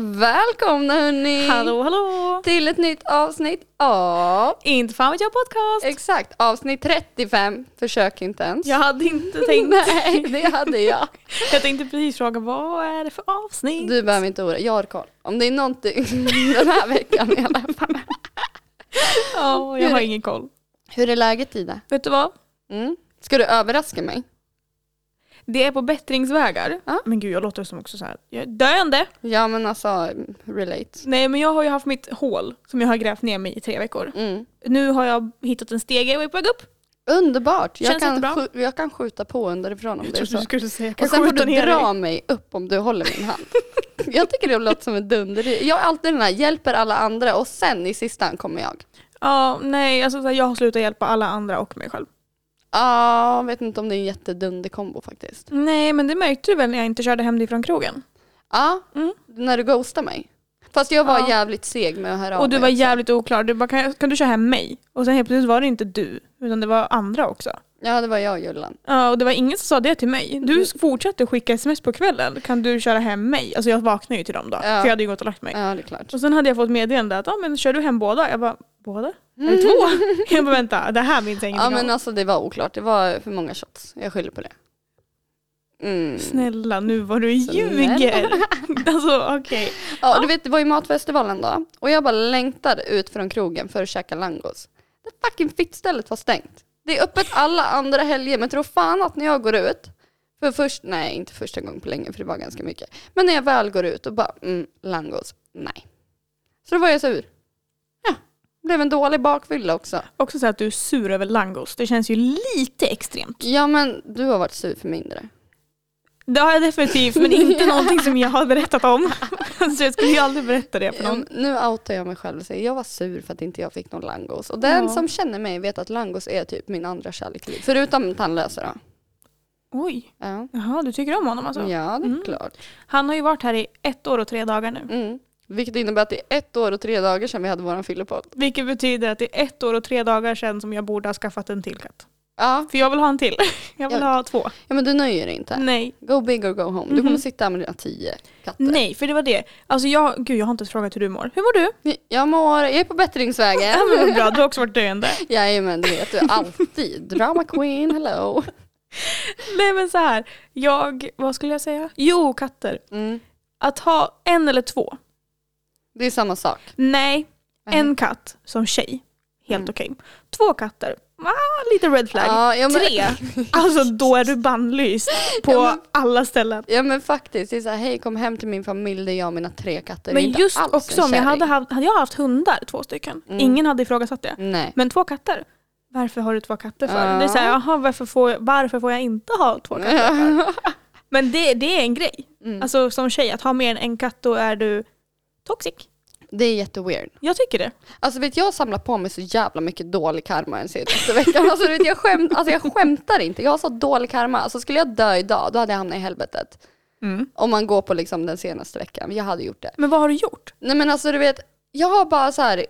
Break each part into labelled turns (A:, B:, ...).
A: Välkomna hörni!
B: Hallå hallå!
A: Till ett nytt avsnitt av...
B: Inte fan vet jag podcast!
A: Exakt, avsnitt 35. Försök inte ens.
B: Eh, Jag hade inte tänkt.
A: Nej, det hade jag.
B: Jag tänkte precis fråga vad är det för avsnitt?
A: Du behöver inte oroa Jag har koll. Om det är någonting den här veckan i alla fall.
B: Ja, jag
A: Hur
B: har
A: är-
B: ingen koll.
A: Hur är läget Ida?
B: Vet du vad?
A: Mm. Ska du överraska mig?
B: Det är på bättringsvägar.
A: Ja.
B: Men gud jag låter som också så här. jag är döende.
A: Ja men alltså, relate.
B: Nej men jag har ju haft mitt hål som jag har grävt ner mig i tre veckor.
A: Mm.
B: Nu har jag hittat en stege och är på väg upp.
A: Underbart! Jag
B: Känns
A: kan,
B: jättebra.
A: skju- jag kan skjuta på underifrån om det är
B: Jag
A: så.
B: trodde du skulle säga
A: Och sen får du dra mig upp om du håller min hand. Jag tycker det låter som en dunder. Jag är alltid den här, hjälper alla andra och sen i sista hand kommer jag.
B: Ja, nej alltså så här, jag har slutat hjälpa alla andra och mig själv.
A: Ja, vet inte om det är en jättedunderkombo faktiskt.
B: Nej men det märkte du väl när jag inte körde hem dig från krogen?
A: Ja,
B: Mm.
A: när du ghostar mig. Fast jag var
B: Ja.
A: jävligt seg med att höra av
B: Och du
A: mig
B: var
A: också.
B: jävligt oklar. Du bara, kan, jag- kan du köra hem mig? Och sen helt plötsligt var det inte du, utan det var andra också.
A: Ja, det var jag och Jullan.
B: Ja, och det var ingen som sa det till mig. Du fortsatte skicka sms på kvällen. Kan du köra hem mig? Alltså jag vaknade ju till dem då,
A: Ja.
B: för jag hade ju gått och lagt mig.
A: Ja, det är klart.
B: Och sen hade jag fååt meddelande att, ja men kör du hem båda? Jag bara, båda? Eller två? jag bara, vänta, det här minns
A: Ja,
B: jag ingenting
A: men
B: om.
A: alltså det var oklart. Det var för många shots. Jag skyller på det. Mm.
B: Snälla nu vad du
A: Snälla.
B: ljuger! alltså okej.
A: Ja, du vet, det var ju matfestivalen då. Och jag bara längtade ut från krogen för att käka langos. Det fucking fittstället var stängt. Det är öppet alla andra helger, men tro fan att när jag går ut, för först, nej inte första gången på länge för det var ganska mycket, men när jag väl går ut och bara, mm, langos, nej. Så då var jag sur. Ja, blev en dålig bakfylla också.
B: Också så att du är sur över langos. Det känns ju lite extremt.
A: Ja men du har varit sur för mindre.
B: Det har jag definitivt, men inte någonting som jag har berättat om. Så jag skulle ju aldrig berätta det för
A: Ja,
B: någon.
A: men nu outar jag mig själv och säger jag var sur för att inte jag fick någon langos. Och den
B: Ja.
A: som känner mig vet att langos är typ min andra kärlek i livet. Förutom tandlösa då.
B: Oj,
A: Ja,
B: jaha du tycker om honom alltså?
A: ja det är
B: Mm.
A: klart.
B: Han har ju varit här i ett år och tre dagar nu.
A: Mm. Vilket innebär att det är ett år och tre dagar sedan vi hade våran fyllepodd.
B: Vilket betyder att det är ett år och tre dagar sedan som jag borde ha skaffat en till katt.
A: Ja.
B: För jag vill ha en till. Jag vill
A: Jag-
B: ha två.
A: ja, men du nöjer dig inte.
B: Nej.
A: Go big or go home. Du kommer sitta här med dina tio katter.
B: Mm-hmm. Nej, för det var det. Alltså jag, gud jag har inte ens frågat hur du mår. Hur mår du?
A: Jag mår, jag är på
B: Ja
A: bättringsvägen.
B: men vad bra, du har också varit döende.
A: Jajamän, det vet du alltid. Drama queen, hello.
B: Nej men så här. jag, vad skulle jag säga? Jo, katter.
A: Mm.
B: Att ha en eller två.
A: Det är samma sak.
B: Nej,
A: Mhm.
B: en katt som tjej. Helt
A: Mm.
B: okej. Två katter. Ah, lite red flag.
A: Ja, ja, men-
B: Tre. Alltså då är du bannlyst på
A: Ja, men-
B: alla ställen.
A: Ja men faktiskt, det är såhär, hej kom hem till min familj, det är jag och mina tre katter. Det är
B: Men
A: inte
B: just
A: alls
B: också
A: en
B: om jag hade
A: kärring.
B: haft, hade jag haft hundar, två stycken.
A: Mm.
B: Ingen hade ifrågasatt det.
A: Nej.
B: Men två katter. Varför har du två katter för?
A: Ja.
B: Det är såhär, jaha varför får, jag- varför får jag inte ha två katter för? Men det, det är en grej.
A: Mm.
B: Alltså som tjej, att ha mer än en katt då är du toxic.
A: Det är jätteweird.
B: Jag tycker det.
A: Alltså vet jag samlar på mig så jävla mycket dålig karma den senaste veckan. Alltså, vet, jag, skämt, alltså jag skämtar inte, jag har så dålig karma. Alltså skulle jag dö idag, då hade jag hamnat i helvetet. Om man går på liksom den senaste veckan, jag hade gjort det.
B: Men vad har du gjort?
A: Nej men alltså du vet, jag har bara så här.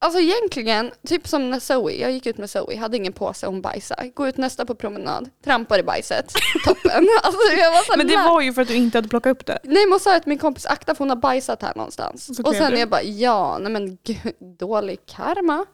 A: Alltså egentligen, typ som när Zoe, jag gick ut med Zoe, hade ingen påse, hon bajsade. Gå ut nästa på promenad, trampar i bajset, toppen. Alltså jag var så här
B: Men det
A: lär-
B: var ju för att du inte hade plockat upp det.
A: Nej men sa att min kompis akta för hon har bajsat här någonstans.
B: Så
A: och
B: klev
A: sen
B: du.
A: jag bara ja, nej men gud, dålig karma.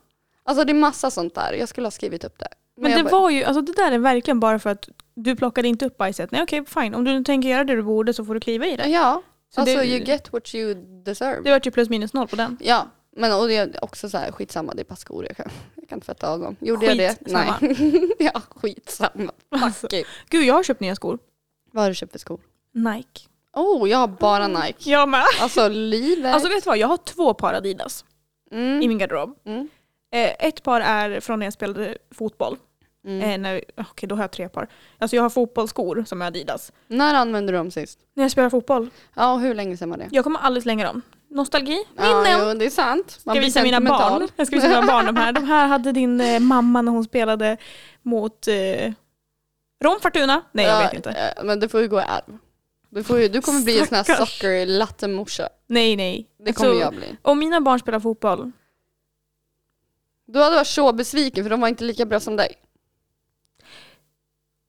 A: Alltså det är massa sånt där, jag skulle ha skrivit upp det.
B: Men,
A: jag
B: det
A: bara,
B: var ju, alltså det där är verkligen bara för att du plockade inte upp bajset. Nej okej fine, om du nu tänker göra det du borde så får du kliva i det.
A: Ja,
B: Så
A: alltså
B: det-
A: you get what you deserve.
B: Det vart ju typ plus minus noll på den.
A: Ja, men och det är också så här skitsamma, det är passkor jag kan, jag kan tvätta av dem. Gjorde jag det?
B: Skitsamma.
A: Nej. ja, skitsamma.
B: Alltså.
A: Fuck it.
B: Gud jag har köpt nya skor.
A: Vad har du köpt för skor?
B: Nike.
A: Oh, jag har bara Nike.
B: Jag med.
A: Alltså livet.
B: Mm. Alltså vet du vad, jag har två par Adidas i
A: mm.
B: min garderob.
A: Mm.
B: Eh, ett par är från när jag spelade fotboll.
A: Mm.
B: Eh, när, okej, då har jag tre par. Alltså jag har fotbollsskor som är Adidas.
A: När använde du dem sist?
B: När jag spelar fotboll.
A: Ja, och hur länge sedan var det?
B: Jag kommer aldrig slänga dem. Nostalgi,
A: Ja,
B: minnen.
A: jo, det är sant. Man
B: ska
A: blir
B: visa mina
A: sentimental.
B: barn. Jag ska visa mina barn de här. De här hade din eh, mamma när hon spelade mot eh, Rom Fortuna. Nej, jag
A: Ja,
B: vet inte.
A: eh, Men det får ju gå i arv. Du, får ju, du kommer bli en sån här
B: Stackars.
A: soccer lattemorsa.
B: Nej, nej.
A: Det kommer
B: Alltså,
A: jag bli.
B: Om mina barn spelar fotboll,
A: Du hade varit så besviken för de var inte lika bra som dig.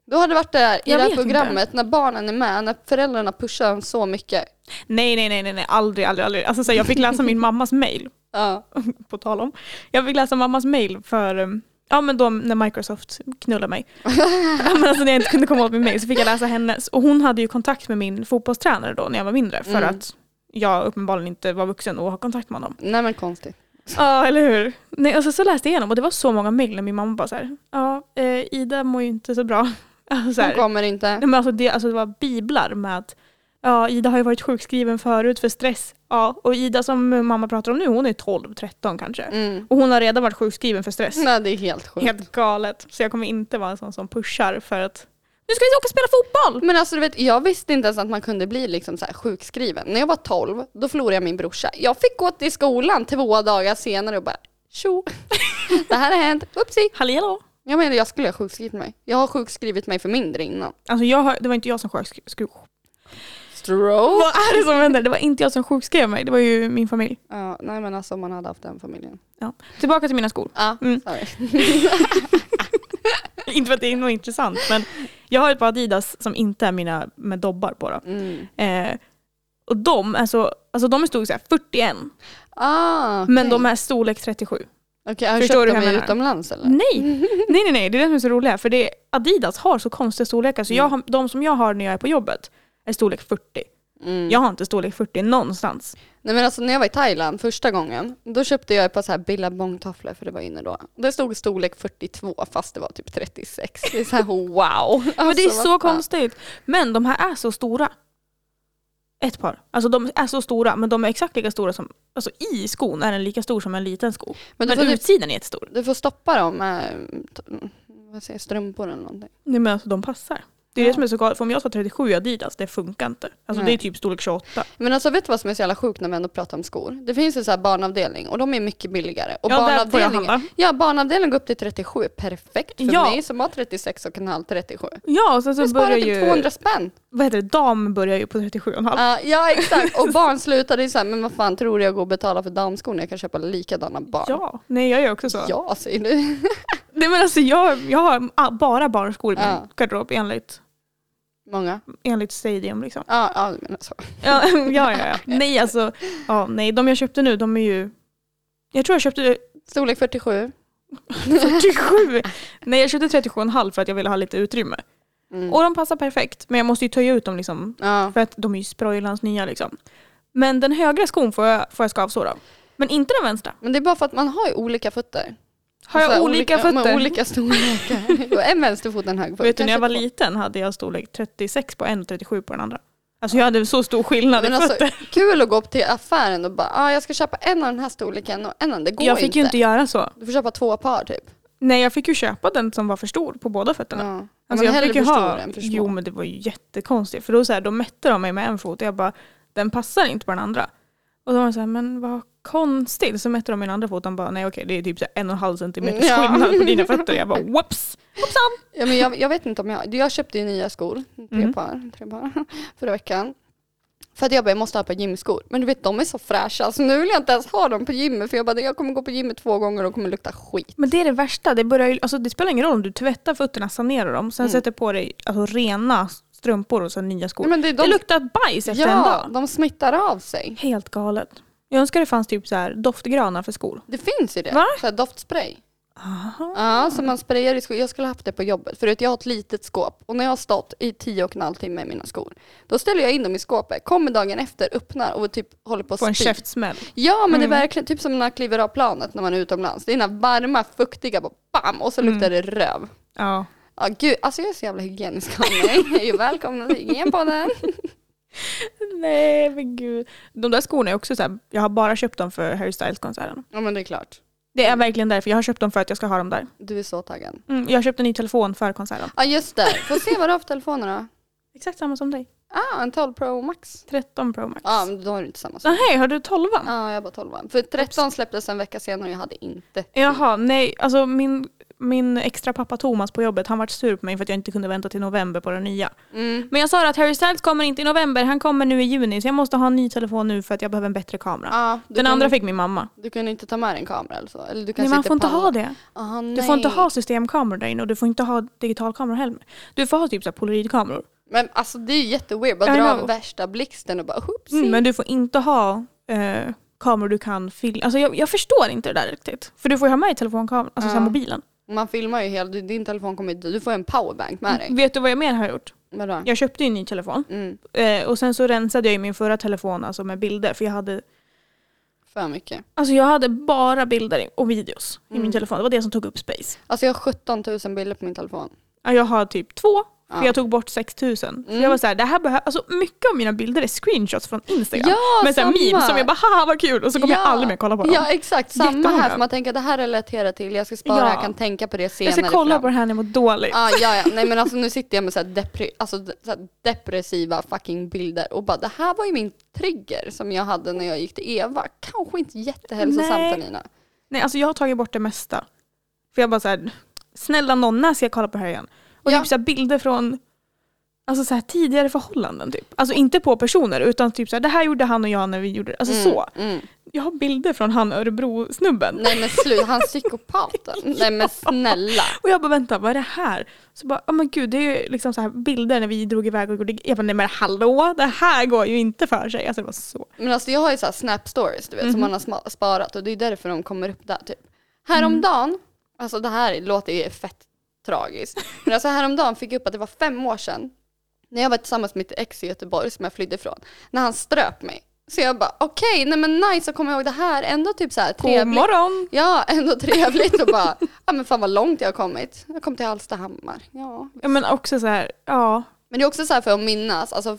A: Du hade varit där i
B: Jag
A: det här
B: vet inte.
A: programmet när barnen är med, när föräldrarna pushar dem så mycket.
B: Nej, nej, nej, nej, nej. aldrig, aldrig, aldrig. Alltså, så här, jag fick läsa min mammas mail,
A: Ja.
B: på tal om. Jag fick läsa mammas mail för, um, ja men då när Microsoft knullade mig. ja, men alltså när jag inte kunde komma åt min mail så fick jag läsa hennes. Och hon hade ju kontakt med min fotbollstränare då när jag var mindre för
A: Mm.
B: att jag uppenbarligen inte var vuxen och ha kontakt med honom.
A: Nej men konstigt.
B: Ja, eller hur? Nej, alltså, så läste jag igenom och det var så många mejl när min mamma bara så här, ja, eh, Ida mår ju inte så bra. Alltså, så
A: Hon
B: här,
A: kommer inte.
B: Nej, men alltså, det, alltså, det var biblar med att ja, Ida har ju varit sjukskriven förut för stress. Ja, och Ida som mamma pratar om nu, hon är 12-13 kanske.
A: Mm.
B: Och hon har redan varit sjukskriven för stress.
A: Nej det är helt sjukt.
B: Helt galet. Så jag kommer inte vara en sån som pushar för att nu ska vi åka och spela fotboll!
A: Men alltså du vet, jag visste inte ens att man kunde bli liksom så här sjukskriven. När jag var 12, då förlorade jag min brorsa. Jag fick gå till skolan två dagar senare och bara tjo, det här har hänt, oopsie.
B: Halli hallå!
A: Jag menar jag skulle ha sjukskrivit mig. Jag har sjukskrivit mig för mindre innan.
B: Alltså jag, har- det var inte jag som sjukskrev
A: Stroke?
B: Vad är det som händer? Det var inte jag som sjukskrev mig, det var ju min familj.
A: Ja, nej men alltså om man hade haft den familjen.
B: Ja. Tillbaka till mina skor.
A: Ja,
B: Mm.
A: sorry.
B: inte för att det är något intressant, men jag har ett par Adidas som inte är mina med dobbar på. Då.
A: Mm.
B: Eh, och de är så, alltså de är storlek så här 41,
A: Ah,
B: men de är storlek 37.
A: Okej, har du
B: Förstår
A: köpt
B: du
A: dem
B: hur jag
A: i
B: menar? Mm.
A: utomlands eller?
B: Nej. nej, nej, nej, det är det som är så roligt. För det, Adidas har så konstiga storlekar, så jag, har- de som jag har när jag är på jobbet är storlek 40.
A: Mm.
B: Jag har inte storlek 40 någonstans.
A: Nej men alltså när jag var i Thailand första gången, då köpte jag ett par så här billabongtofflor för det var inne då. Det stod storlek 42 fast det var typ 36. Det är så här wow. Alltså,
B: men det är
A: vad
B: så
A: fan.
B: konstigt. Men de här är så stora. Ett par. Alltså de är så stora, men de är exakt lika stora som... Alltså i skon är den lika stor som en liten sko.
A: Men
B: Men,
A: du får, du,
B: utsidan är jättestor.
A: du får stoppa dem med mm, t- vad säger, jag, strumpor eller någonting.
B: Nej men alltså de passar. Det är
A: Ja.
B: det som är så galet. För om jag sa 37 i Adidas, det funkar inte. Alltså
A: Nej.
B: det är typ storlek 28.
A: Men alltså vet du vad som är så jävla sjukt när vi ändå pratar om skor? Det finns ju så här barnavdelning och de är mycket billigare. Och
B: ja, där får jag
A: barnavdelningen,
B: handla.
A: ja, barnavdelningen går upp till 37, perfekt för
B: Ja.
A: mig som har 36 och kan ha 37.
B: Ja, och sen
A: Du
B: så
A: sparar
B: börjar
A: typ
B: ju...
A: 200 spänn.
B: Vad heter det? Dam börjar ju på 37,5.
A: Ja, ja exakt, och barn slutade ju såhär, men vad fan tror du jag går och betalar för damskor när jag kan köpa likadana barn?
B: Ja, nej jag gör också så.
A: Ja, alltså, säger du.
B: Nej men alltså jag, jag har ah, bara barnskor i min
A: Ja.
B: garderob enligt,
A: Många.
B: enligt Stadium liksom.
A: Ja, ja, men alltså.
B: Ja, ja, ja, ja. Nej alltså, ja, nej de jag köpte nu de är ju, jag tror jag köpte
A: Storlek 47.
B: 47, nej jag köpte 37,5 för att jag ville ha lite utrymme.
A: Mm.
B: Och de passar perfekt, men jag måste ju töja ut dem liksom,
A: ja.
B: för att de är ju sprojlans nya liksom. Men den högra skon får jag, får jag skavsår av. Men inte den vänstra.
A: Men det är bara för att man har ju olika fötter.
B: Har jag
A: Alltså,
B: olika, fötter?
A: Med olika storlekar. Du har en vänsterfot, en högerfot.
B: Vet du, när jag var
A: Kanske
B: liten hade jag storlek 36 på en och 37 på den andra. Alltså jag hade så stor skillnad
A: Men
B: i
A: alltså,
B: fötter.
A: Kul att gå upp till affären och bara, ah, jag ska köpa en av den här storleken och en av den. Det går
B: jag fick ju inte göra så.
A: Du får köpa två par typ.
B: Nej, jag fick ju köpa den som var för stor på båda fötterna.
A: Ja.
B: Alltså,
A: man
B: jag
A: hellre
B: fick ju
A: för
B: ha...
A: stor än för små.
B: Jo, men det var ju jättekonstigt. För då, så här, då mätte de mig med en fot och jag bara, den passar inte på den andra. Och då var de så här, men vad konstigt. Så mätte de min andra fot och de bara, nej okej, det är typ så här en och en halv centimeter
A: Ja.
B: skillnad på dina fötter. Jag bara, whoops!
A: Ja, men jag, jag vet inte om jag, jag köpte ju nya skor, tre
B: Mm.
A: par, tre par förra veckan. För att jag bara, jag måste ha ett par gymskor. Men du vet de är så fräscha, alltså nu vill jag inte ens ha dem på gymmet för jag bara, jag kommer gå på gymmet två gånger och kommer lukta skit.
B: Men det är det värsta. Det, börjar ju, alltså det spelar ingen roll om du tvättar fötterna, sanerar dem, sen
A: Mm.
B: sätter på dig alltså, rena strumpor och sen nya skor.
A: Nej, men det, de,
B: det luktar bajs efter en
A: ja,
B: dag.
A: de smittar av sig.
B: Helt galet. Jag önskar det fanns typ så här doftgranar för skor.
A: Det finns ju det,
B: Va?
A: så här doftspray.
B: Aha.
A: Ja, som man sprayar i skor. Jag skulle ha haft det på jobbet för att jag har ett litet skåp och när jag har stått i tio och en halv timme med mina skor, då ställer jag in dem i skåpet, kommer dagen efter, öppnar och typ håller på att
B: På en
A: spy.
B: käftsmäll.
A: Ja men det är
B: Mm.
A: verkligen typ som när man kliver av planet när man är utomlands. Det är den här varma, fuktiga, bara bam och så
B: Mm.
A: luktar det röv.
B: Ja.
A: Ja gud, alltså jag är så jävla hygienisk av mig. Välkomna till hygienpodden.
B: Nej men gud. De där skorna är också så här, jag har bara köpt dem för Harry Styles-konserten.
A: Ja men det är klart.
B: Det är verkligen därför. Jag har köpt dem för att jag ska ha dem där.
A: Du är så taggad.
B: Mm, jag köpte en ny telefon för konserten.
A: Ja just det, får se vad du har för telefoner då.
B: Exakt samma som dig.
A: Ah, en 12 Pro Max.
B: 13 Pro Max.
A: Ja men då har du inte samma sak.
B: Ah, hej, har du 12
A: Ja jag har bara 12 För 13 släpptes en vecka senare och jag hade inte.
B: Jaha, nej. Alltså min, min extra pappa Thomas på jobbet, han vart sur på mig för att jag inte kunde vänta till november på den nya.
A: Mm.
B: Men jag sa att Harry Styles kommer inte i november, han kommer nu i juni så jag måste ha en ny telefon nu för att jag behöver en bättre kamera.
A: Ja, du
B: den
A: kan,
B: andra fick min mamma.
A: Du kan inte ta med en kamera eller så? Eller du kan
B: Nej,
A: sitta
B: man får inte
A: på
B: ha det.
A: Ah,
B: Du får inte ha systemkameror där inne och du får inte ha digitalkameror heller. Du får ha typ så här polaroidkameror.
A: Men alltså det är ju jätteweird, bara
B: I
A: dra
B: know.
A: av värsta blixten och bara hoopsie.
B: Mm, men du får inte ha eh, kameror du kan filma. Alltså jag, jag förstår inte det där riktigt. För du får ju ha med i telefonkameran, alltså
A: Ja.
B: så här mobilen.
A: Man filmar ju hela, din telefon kommer inte, du får en powerbank med dig.
B: Vet du vad jag mer har gjort?
A: Vadå?
B: Jag köpte ju en ny telefon
A: Mm,
B: eh, och sen så rensade jag ju min förra telefon alltså med bilder för jag hade,
A: för mycket.
B: alltså jag hade bara bilder och videos i
A: Mm.
B: min telefon. Det var det som tog upp space.
A: Alltså jag har 17 000 bilder på min telefon.
B: Ja, Jag har typ två för
A: Ja.
B: jag tog bort 6000. För
A: Mm.
B: Jag var såhär, det här behöver, alltså mycket av mina bilder är screenshots från Instagram.
A: Ja,
B: med såhär
A: samma.
B: memes som jag bara haha vad kul och så kommer
A: Ja.
B: jag aldrig mer kolla på dem.
A: Ja exakt, samma här.
B: Jättemånga.
A: För man tänker att det här relaterar till, jag ska spara
B: Ja.
A: det här, kan tänka på det senare.
B: jag ska kolla
A: fram.
B: på det här när jag mår dåligt.
A: Ja, ja, ja. Nej men alltså nu sitter jag med så här, depri- alltså, d- så här depressiva fucking bilder och bara det här var ju min trigger som jag hade när jag gick till Eva. Kanske inte jättehälsosamt
B: Nej.
A: Anina.
B: Nej, alltså jag har tagit bort det mesta. För jag bara såhär, snälla någon, när ska jag kolla på det här igen? Och
A: Ja.
B: typ såhär bilder från alltså såhär, tidigare förhållanden typ. Alltså inte på personer utan typ såhär, det här gjorde han och jag när vi gjorde det. Alltså
A: Mm,
B: så.
A: Mm.
B: Jag har bilder från han Örebro-snubben.
A: Nej men sluta, han är psykopat. Nej men snälla.
B: Och jag bara vänta, vad är det här? Så bara, ja men gud det är ju liksom så här bilder när vi drog iväg och gjorde... Jag bara, nej men hallå, det här går ju inte för sig. Alltså det var så.
A: Men alltså jag har ju så här snap stories du vet
B: Mhm.
A: som man har sma- sparat och det är därför de kommer upp där typ. Häromdagen,
B: Mhm.
A: alltså det här låter ju fett tragiskt, men alltså häromdagen fick jag upp att det var fem år sedan när jag var tillsammans med mitt ex i Göteborg som jag flydde ifrån, när han ströp mig. Så jag bara okej, nej men nice att komma ihåg det här, ändå typ så här
B: God
A: trevligt.
B: morgon!
A: Ja, ändå trevligt och bara, ja men fan vad långt jag har kommit. Jag kom till Hallstahammar. Ja.
B: Ja men också så här, ja.
A: Men det är också så här för att minnas, alltså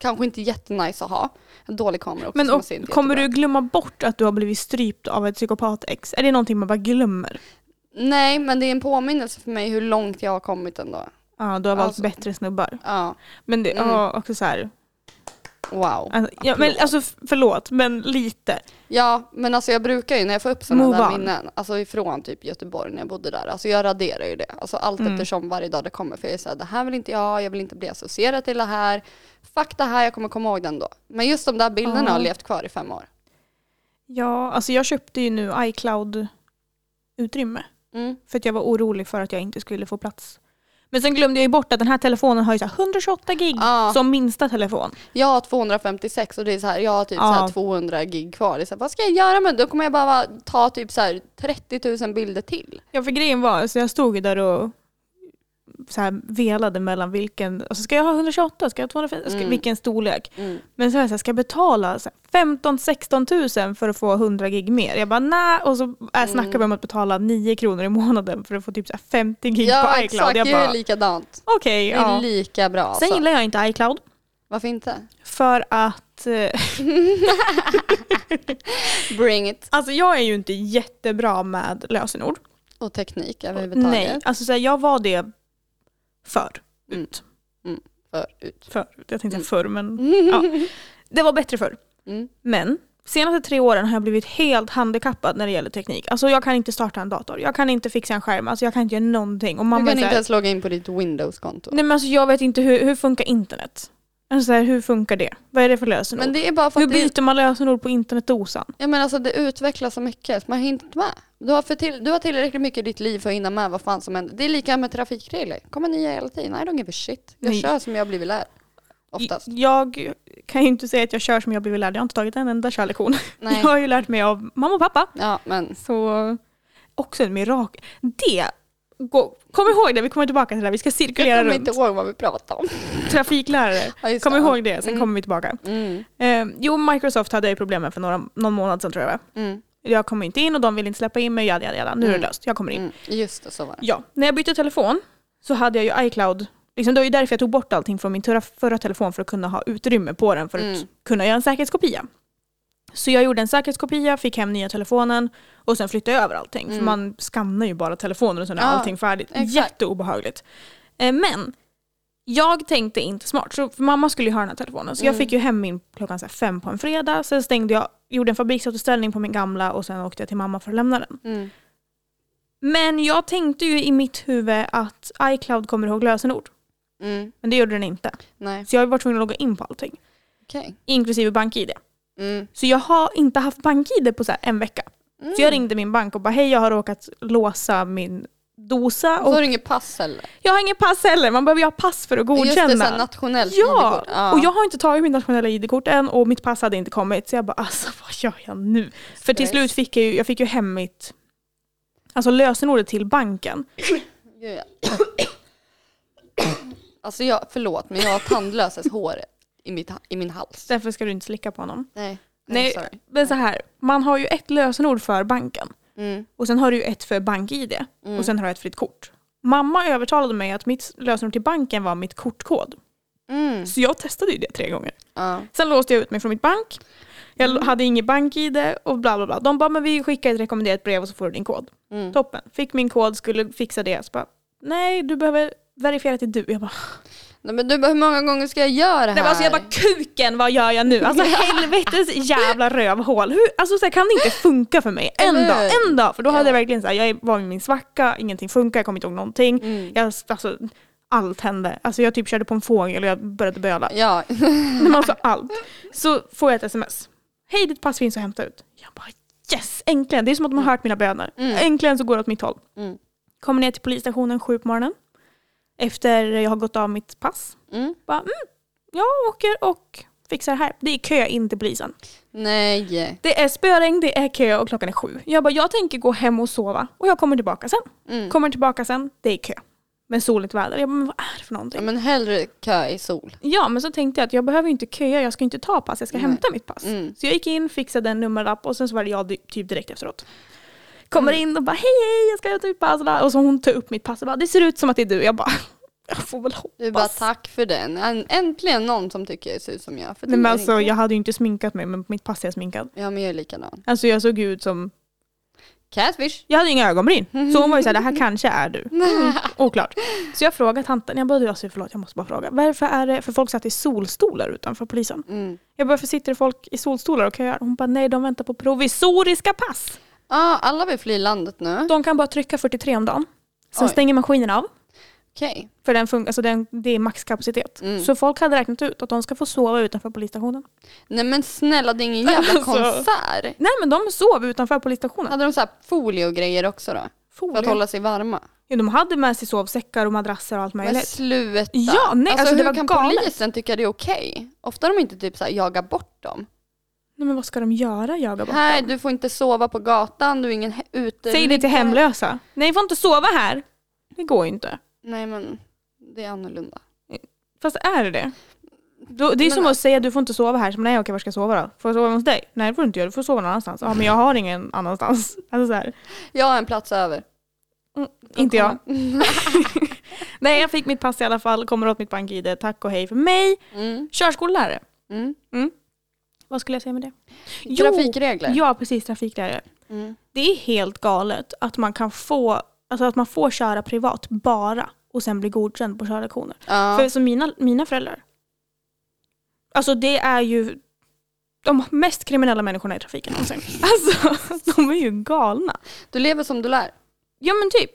A: kanske inte jättenice att ha. En dålig kamera också.
B: Men
A: som
B: och,
A: man ser inte
B: kommer
A: jättebra.
B: du glömma bort att du har blivit strypt av ett psykopat-ex? Är det någonting man bara glömmer?
A: Nej, men det är en påminnelse för mig hur långt jag har kommit ändå.
B: Ja, du har valt
A: Alltså.
B: bättre snubbar.
A: Ja,
B: Men det,
A: Mm.
B: ja, också så här.
A: wow.
B: Alltså, ja, men alltså f- förlåt, men lite.
A: Ja, men alltså jag brukar ju när jag får upp sådana
B: Move
A: där
B: on.
A: minnen, alltså ifrån typ Göteborg när jag bodde där, alltså jag raderar ju det. Alltså allt
B: Mm.
A: eftersom varje dag det kommer, för jag är såhär, det här vill inte jag, jag vill inte bli associerad till det här. Fuck det här, jag kommer komma ihåg den då. Men just de där bilderna
B: Ja.
A: har levt kvar i fem år.
B: Ja, alltså jag köpte ju nu iCloud-utrymme
A: Mm.
B: för att jag var orolig för att jag inte skulle få plats. Men sen glömde jag ju bort att den här telefonen har ju så här 128 gig
A: Ja.
B: som minsta telefon.
A: Jag har 256 och det är så här, jag har typ
B: Ja.
A: så här 200 gig kvar. Det är så här, vad ska jag göra med det? Då kommer jag bara ta typ så här 30 000 bilder till.
B: Ja, för grejen var, så jag stod ju där och så här velade mellan vilken, alltså ska jag ha 128, ska jag ha 250, ska,
A: Mm.
B: vilken storlek?
A: Mm.
B: Men så, var jag så här, ska jag betala 15-16 000 för att få 100 gig mer? Jag bara nej, och så
A: Mm.
B: äh, snackar vi om att betala 9 kronor i månaden för att få typ så här 50 gig
A: Ja
B: på iCloud.
A: exakt, det
B: jag
A: är
B: bara
A: likadant.
B: okej,
A: Det
B: ja.
A: är lika bra alltså.
B: Sen gillar jag inte iCloud
A: Varför inte?
B: för att eh,
A: Bring it.
B: alltså jag är ju inte jättebra med lösenord.
A: Och teknik överhuvudtaget.
B: Nej, alltså så här, jag var det förr.
A: Mm.
B: Ut.
A: Förut.
B: Förr. Jag tänkte
A: Mm.
B: förr men
A: Ja.
B: det var bättre förr.
A: Mm.
B: Men senaste tre åren har jag blivit helt handikappad när det gäller teknik. Alltså jag kan inte starta en dator, jag kan inte fixa en skärm, alltså jag kan inte göra någonting. Och
A: Du
B: mamma
A: kan
B: är så
A: inte
B: här,
A: ens logga in på ditt Windows-konto.
B: nej men alltså jag vet inte hur, hur funkar internet? Alltså så här, hur funkar det? Vad är det för lösenord?
A: Men det är bara för
B: hur
A: att det,
B: byter man lösenord på internetdosan?
A: ja, men alltså, det utvecklas så mycket så man hinner inte med. Du har, för till, du har tillräckligt mycket i ditt liv för att hinna med vad fan som händer. Det är lika med trafikregler. kommer nya hela tiden. I don't give a shit. Jag
B: Nej.
A: kör som jag har blivit lärd. Oftast.
B: Jag kan ju inte säga att jag kör som jag blivit lärd, jag har inte tagit en enda körlektion.
A: Nej.
B: Jag har ju lärt mig av mamma och pappa.
A: Ja, men
B: Så också en mirakel. Det, gå, kom ihåg det, vi kommer tillbaka till det här, vi ska
A: jag
B: cirkulera
A: kommer
B: runt.
A: inte ihåg vad vi pratade om.
B: Trafiklärare.
A: Ja, just
B: Kom
A: det.
B: ihåg det, sen
A: Mm.
B: kommer vi tillbaka.
A: Mm.
B: Eh, jo, Microsoft hade jag ju problem med för några, någon månad sedan tror jag.
A: Mm.
B: Jag kom inte in och de ville inte släppa in mig, jada, jada, jada. nu är
A: Mm.
B: det löst, jag kommer in.
A: Mm. Just det, så var det.
B: Ja, när jag bytte telefon så hade jag ju iCloud. Liksom, det var ju därför jag tog bort allting från min förra, förra telefon för att kunna ha utrymme på den för att
A: Mm.
B: kunna göra en säkerhetskopia. Så jag gjorde en säkerhetskopia, fick hem nya telefonen och sen flyttade jag över allting.
A: Mm.
B: För man skannar ju bara telefoner och sen är
A: Ja,
B: allting färdigt.
A: exakt.
B: Jätteobehagligt. Eh, Men jag tänkte inte smart, så för mamma skulle ju ha den här telefonen. Så jag
A: Mm.
B: fick ju hem min klockan så här fem på en fredag. Sen stängde jag, gjorde en fabriksåterställning på min gamla och sen åkte jag till mamma för att lämna den.
A: Mm.
B: Men jag tänkte ju i mitt huvud att iCloud kommer ihåg lösenord.
A: Mm.
B: Men det gjorde den inte.
A: Nej,
B: Så jag var tvungen att logga in på allting.
A: okej.
B: Inklusive BankID.
A: Mm.
B: Så jag har inte haft BankID på så här en vecka.
A: Mm.
B: Så jag ringde min bank och bara hej jag har råkat låsa min dosa.
A: Och så
B: Och
A: har du inget pass heller.
B: jag har inget pass heller, man behöver ju ha pass för att
A: Just det, så här
B: godkänna.
A: nationellt
B: Ja,
A: ID-kort. ja.
B: och jag har inte tagit mitt nationella ID-kort än och mitt pass hade inte kommit så jag bara alltså vad gör jag nu? För till
A: Stress.
B: slut fick jag ju, jag fick ju hem mitt, alltså lösenordet till banken.
A: Gud, ja. Alltså jag, förlåt men jag har tandlöses hår i, mitt, ha- i min hals.
B: Därför ska du inte slicka på honom.
A: Nej, I'm
B: Nej,
A: sorry.
B: men så här, man har ju ett lösenord för banken.
A: Mm.
B: Och sen har du ju ett för bank-id
A: Mm.
B: och sen har du ett för ditt kort. Mamma övertalade mig att mitt lösenord till banken var mitt kortkod.
A: Mm.
B: Så jag testade ju det tre gånger.
A: Ja.
B: Sen låste jag ut mig från mitt bank. Jag
A: Mm.
B: hade inget bank-id och bla bla bla. De bara, men vi skickar ett rekommenderat brev och så får du din kod.
A: Mm.
B: Toppen. Fick min kod, skulle fixa det. Så bara, nej du behöver verifiera att det är du. Jag bara,
A: Nej, men du, hur många gånger ska jag göra det här?
B: nej, men alltså jag bara kuken vad gör jag nu? Alltså helvetes jävla rövhål. Hur, alltså så här, kan det inte funka för mig? En
A: Eller
B: dag,
A: hur?
B: en dag. För då hade jag verkligen så här, jag var i min svacka, ingenting funkar, jag kom inte ihåg någonting.
A: Mm.
B: Jag, alltså, allt hände. Alltså jag typ körde på en fågel och jag började böla.
A: Ja,
B: Nej, men alltså allt. Så får jag ett sms. Hej ditt pass finns att hämta ut. Jag bara yes, äntligen. Det är som att de har hört mina böner.
A: Mm.
B: Äntligen så går det åt mitt håll.
A: Mm.
B: Kommer ner till polisstationen sju på morgonen. Efter jag har gått av mitt pass.
A: mm.
B: Bara, mm, jag åker och fixar här. Det är kö in till polisen.
A: nej.
B: Det är spöregn, det är kö och klockan är sju. Jag bara, jag tänker gå hem och sova och jag kommer tillbaka sen.
A: Mm.
B: Kommer tillbaka sen, det är kö. Men soligt väder. Jag bara, men vad är det för någonting?
A: Ja, men hellre kö i sol.
B: Ja, men så tänkte jag att jag behöver ju inte köa, jag ska inte ta pass, jag ska
A: Nej.
B: hämta mitt pass.
A: Mm.
B: Så jag gick in, fixade en nummerlapp och sen så var det jag di- typ direkt efteråt. Kommer
A: Mm.
B: in och bara hej hej, jag ska hämta mitt pass. Och så hon tar upp mitt pass och bara det ser ut som att det är du. Jag bara jag får väl hoppas.
A: Du bara tack för den. Än- Äntligen någon som tycker jag ser ut som jag. För det
B: Nej, men
A: är
B: alltså,
A: inte.
B: jag hade ju inte sminkat mig men på mitt pass är jag sminkad.
A: Ja men jag är likadan.
B: Alltså jag såg ut som,
A: Catfish.
B: jag hade inga ögonbryn. Så hon var ju såhär det här kanske är du. Mm, oklart. Så jag frågade tanten, jag bara du alltså förlåt jag måste bara fråga. Varför är det, för folk satt i solstolar utanför polisen.
A: Mm.
B: Jag bara, varför sitter det folk i solstolar och köar? Hon bara, nej de väntar på provisoriska pass.
A: Ja, alla vill fly landet nu.
B: De kan bara trycka 43 om dagen. Sen
A: Oj.
B: stänger maskinen av.
A: Okej.
B: För den fun- alltså den, det är maxkapacitet.
A: Mm.
B: Så folk hade räknat ut att de ska få sova utanför polisstationen.
A: Nej men snälla det är ingen jävla
B: Alltså.
A: konsert.
B: Nej men de sov utanför polisstationen.
A: Hade de så här folie och grejer också då? För att
B: Folie.
A: hålla sig varma?
B: Ja, de hade med sig sovsäckar och madrasser och allt
A: Men
B: möjligt.
A: sluta!
B: Ja, nej, alltså, det
A: hur
B: var
A: kan
B: galet.
A: polisen tycka det är okej? Ofta de inte typ så här, jagar bort dem.
B: Nej, men vad ska de göra? Jaga bort
A: Nej,
B: dem?
A: du får inte sova på gatan, du är ingen he- ute.
B: Säg det till hemlösa. Nej, ni får inte sova här. Det går ju inte.
A: Nej men, det är annorlunda.
B: Fast är det det? Då, det är
A: Men-
B: som att säga du får inte sova här. Så, nej okej, var ska jag sova då? Får jag sova hos dig? Nej det får du inte göra, du får sova någon annanstans. Ja men jag har ingen annanstans. Alltså, så här.
A: Jag har en plats över.
B: Inte jag.
A: Mm.
B: Nej jag fick mitt pass i alla fall, kommer åt mitt bank-id, tack och hej för mig.
A: Mm.
B: Körskollärare,
A: Mm.
B: vad skulle jag säga med det? Jo,
A: Trafikregler.
B: Ja precis, trafiklärare.
A: Mm.
B: Det är helt galet att man kan få, alltså att man får köra privat bara och sen bli godkänd på körlektioner.
A: Ja.
B: För som mina, mina föräldrar, alltså det är ju de mest kriminella människorna i trafiken någonsin. Alltså de är ju galna.
A: Du lever som du lär.
B: Ja men typ.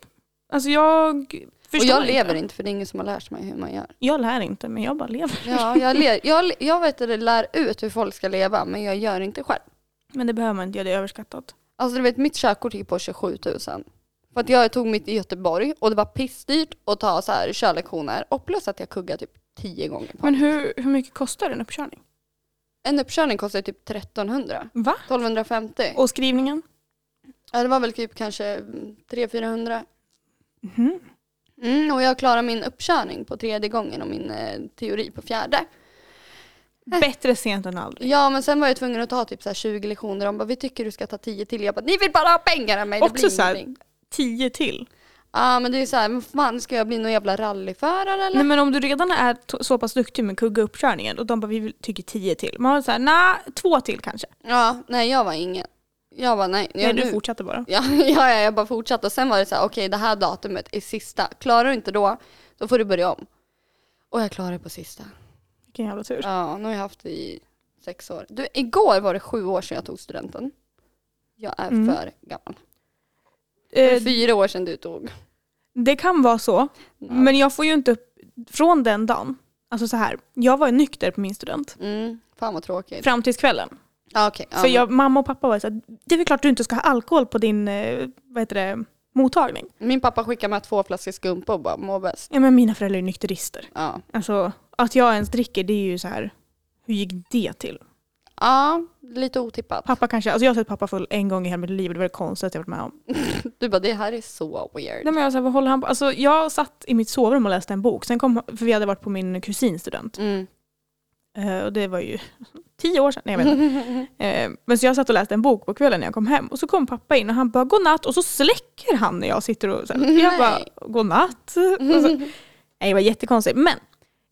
B: Alltså jag förstår
A: Och jag
B: inte.
A: lever inte för det är ingen som har lärt mig hur man gör.
B: Jag lär inte men jag bara lever.
A: Ja, jag, le- jag, le- jag vet att det lär ut hur folk ska leva men jag gör inte själv.
B: Men det behöver man inte göra, det är överskattat.
A: Alltså du vet mitt körkort gick på 27 000. För att jag tog mitt i Göteborg och det var pissdyrt att ta så här körlektioner och plus att jag kuggade typ 10 gånger på.
B: Men hur, hur mycket kostar en uppkörning?
A: En uppkörning kostade typ 1300.
B: Va?
A: 1250.
B: Och skrivningen?
A: Ja, det var väl typ kanske 300-400.
B: Mhm.
A: Mm, och jag klarade min uppkörning på tredje gången och min eh, teori på fjärde.
B: Bättre sent än aldrig.
A: Ja men sen var jag tvungen att ta typ så här 20 lektioner. De bara vi tycker du ska ta 10 till. Jag bara ni vill bara ha pengar av mig. Det
B: Också
A: blir
B: så här-
A: ingenting.
B: Tio till.
A: Ja men det är så här, men fan ska jag bli någon jävla rallyförare eller?
B: Nej men om du redan är t- så pass duktig med kugga uppkörningen och de bara vi vill- tycker tio till. Man var såhär, nej två till kanske.
A: Ja, nej jag var ingen. Jag var nej.
B: Nej
A: jag,
B: du
A: nu-
B: fortsatte bara.
A: ja, ja, ja, jag bara fortsatte och sen var det så här, okej det här datumet är sista. Klarar du inte då, då får du börja om. Och jag klarade på sista.
B: Vilken jävla tur.
A: Ja, nu har jag haft det i sex år. Du, igår var det sju år sedan jag tog studenten. Jag är
B: Mm.
A: för gammal. Det är
B: Eh,
A: fyra år sedan du tog.
B: det kan vara så,
A: Ja.
B: men jag får ju inte upp från den dagen. Alltså så här, jag var ju nykter på min student.
A: Mm, fan vad tråkigt.
B: Fram tills kvällen.
A: Ja, okej. ja,
B: För jag, mamma och pappa var så här, det är väl klart du inte ska ha alkohol på din eh, vad heter det, mottagning.
A: Min pappa skickade med två flaskor skumpa och bara må bäst.
B: Ja, men mina föräldrar är nykterister.
A: Ja.
B: Alltså, att jag ens dricker det är ju så här, hur gick det till?
A: ja, lite otippat.
B: Pappa kanske, alltså jag har sett pappa full en gång i hela mitt liv och det var det konstigaste jag varit med om.
A: Du bara det här är så weird.
B: Nej men jag, så här, vad håller han på? Alltså, jag satt i mitt sovrum och läste en bok, sen kom, för vi hade varit på min kusins student.
A: Mm.
B: Eh, och det var ju tio år sedan, nej jag vet inte. Eh, men så jag satt och läste en bok på kvällen när jag kom hem och så kom pappa in och han bara godnatt och så släcker han när jag sitter och så här, jag bara
A: Nej.
B: godnatt. Och så, nej det var jättekonstigt men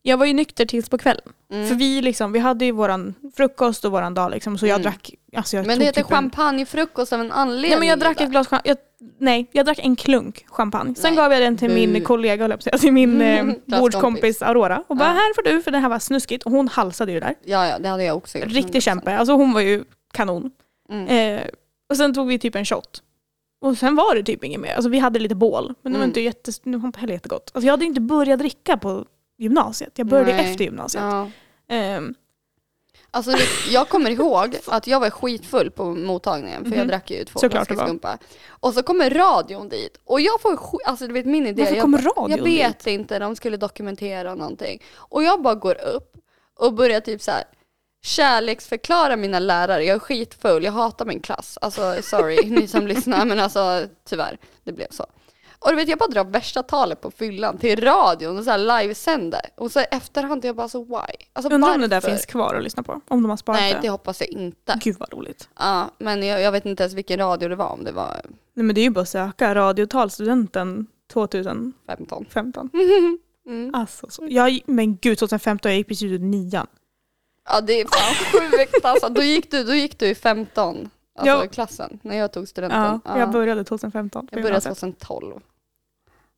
B: jag var ju nykter tills på kvällen.
A: Mm.
B: För vi, liksom, vi hade ju våran frukost och våran dag liksom, så jag
A: Mm.
B: drack... Alltså jag
A: Men det
B: tog
A: heter
B: typ en-
A: champagnefrukost av en anledning.
B: Nej men jag drack
A: Ida.
B: ett glas champagne. Jag, nej, jag drack en klunk champagne. Sen
A: Nej.
B: gav jag den till
A: Bu.
B: min kollega, höll jag på att säga, till min eh,
A: Klasskompis.
B: bordskompis Aurora. Och bara
A: Ja.
B: här får du för det här var snuskigt. Och hon halsade ju där.
A: Ja, ja, det hade jag också gjort. liksom-
B: Riktig kämpe. Alltså hon var ju kanon.
A: Mm.
B: Eh, och sen tog vi typ en shot. Och sen var det typ inget mer. Alltså vi hade lite bål. Men det var
A: Mm.
B: inte, jätte, det var inte heller jättegott. Alltså jag hade inte börjat dricka på gymnasiet. Jag började
A: Nej.
B: efter gymnasiet.
A: Ja.
B: Ehm,
A: Alltså, det- jag kommer ihåg att jag var skitfull på mottagningen för jag
B: Mhm.
A: drack ju två
B: Såklart
A: flaskor
B: det var.
A: skumpa. Och så kommer radion dit och jag får sk- alltså du vet min idé.
B: varför
A: jag
B: kom
A: bara-
B: radion
A: Jag vet inte, de skulle dokumentera någonting. Och jag bara går upp och börjar typ så här kärleksförklara mina lärare. Jag är skitfull, jag hatar min klass. Alltså sorry, ni som lyssnar, men alltså tyvärr, det blev så. Och du vet, jag bara drar värsta talet på fyllan till radion och så här livesänder. Och så i efterhand, jag bara så why? Alltså
B: dit? Undrar om det där
A: varför?
B: finns kvar att lyssna på. Om de har sparat
A: Nej,
B: det.
A: det hoppas jag inte.
B: Gud vad roligt.
A: Ja, men jag, jag vet inte ens vilken radio det var, om det var
B: Nej men det är ju bara att söka radiotalstudenten 2015.
A: 15. Mm.
B: Alltså, så. Jag, men gud 2015, jag gick precis ut nian.
A: Ja det är fan sjukt alltså. Då gick du, då gick du i 15, alltså
B: Ja.
A: klassen, när jag tog studenten.
B: Ja,
A: Ja.
B: Jag började 2015. på
A: jag började
B: gymnasiet.
A: 2012.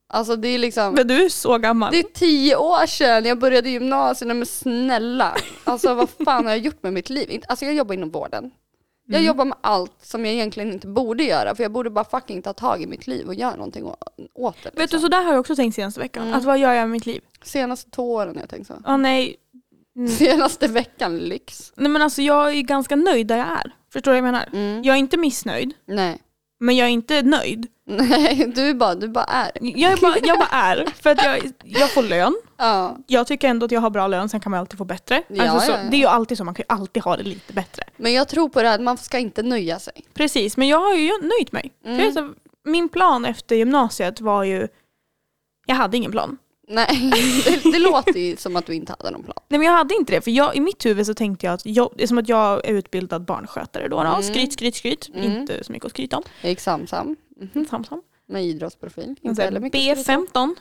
A: Alltså det är liksom,
B: Men du är så gammal.
A: det är tio år sedan jag började gymnasiet, Nej, men snälla. Alltså vad fan har jag gjort med mitt liv? Inte- Alltså jag jobbar inom vården. Jag
B: Mm.
A: jobbar med allt som jag egentligen inte borde göra, för jag borde bara fucking ta tag i mitt liv och göra någonting å- åt det.
B: Vet
A: liksom.
B: du, så där har jag också tänkt senaste veckan.
A: Mm.
B: Att vad gör jag med mitt liv?
A: Senaste två åren har jag tänkt så.
B: Åh nej. Mm.
A: Senaste veckan, lyx.
B: nej men alltså jag är ju ganska nöjd där jag är. Förstår du vad jag menar?
A: Mm.
B: Jag är inte missnöjd,
A: Nej.
B: men jag är inte nöjd.
A: Nej, du är bara, du bara är.
B: Jag, är bara, jag bara är. För att jag, jag får lön.
A: Ja.
B: Jag tycker ändå att jag har bra lön, sen kan man alltid få bättre.
A: Ja,
B: alltså, så,
A: ja, ja.
B: Det är ju alltid så, man kan ju alltid ha det lite bättre.
A: Men jag tror på det här att man ska inte nöja sig.
B: Precis, men jag har ju nöjt mig.
A: Mm.
B: För alltså, min plan efter gymnasiet var ju... Jag hade ingen plan.
A: Nej, det, det låter ju som att du inte hade någon plan.
B: Nej men jag hade inte det, för jag, i mitt huvud så tänkte jag att jag, det är som att jag är utbildad barnskötare då. då.
A: Mm.
B: Skryt, skryt, skryt.
A: Mm.
B: Inte så mycket att skryta om.
A: Jag gick samsam
B: Sam, sam.
A: med idrottsprofil.
B: Men
A: Inte
B: så här,
A: heller mycket.
B: B15.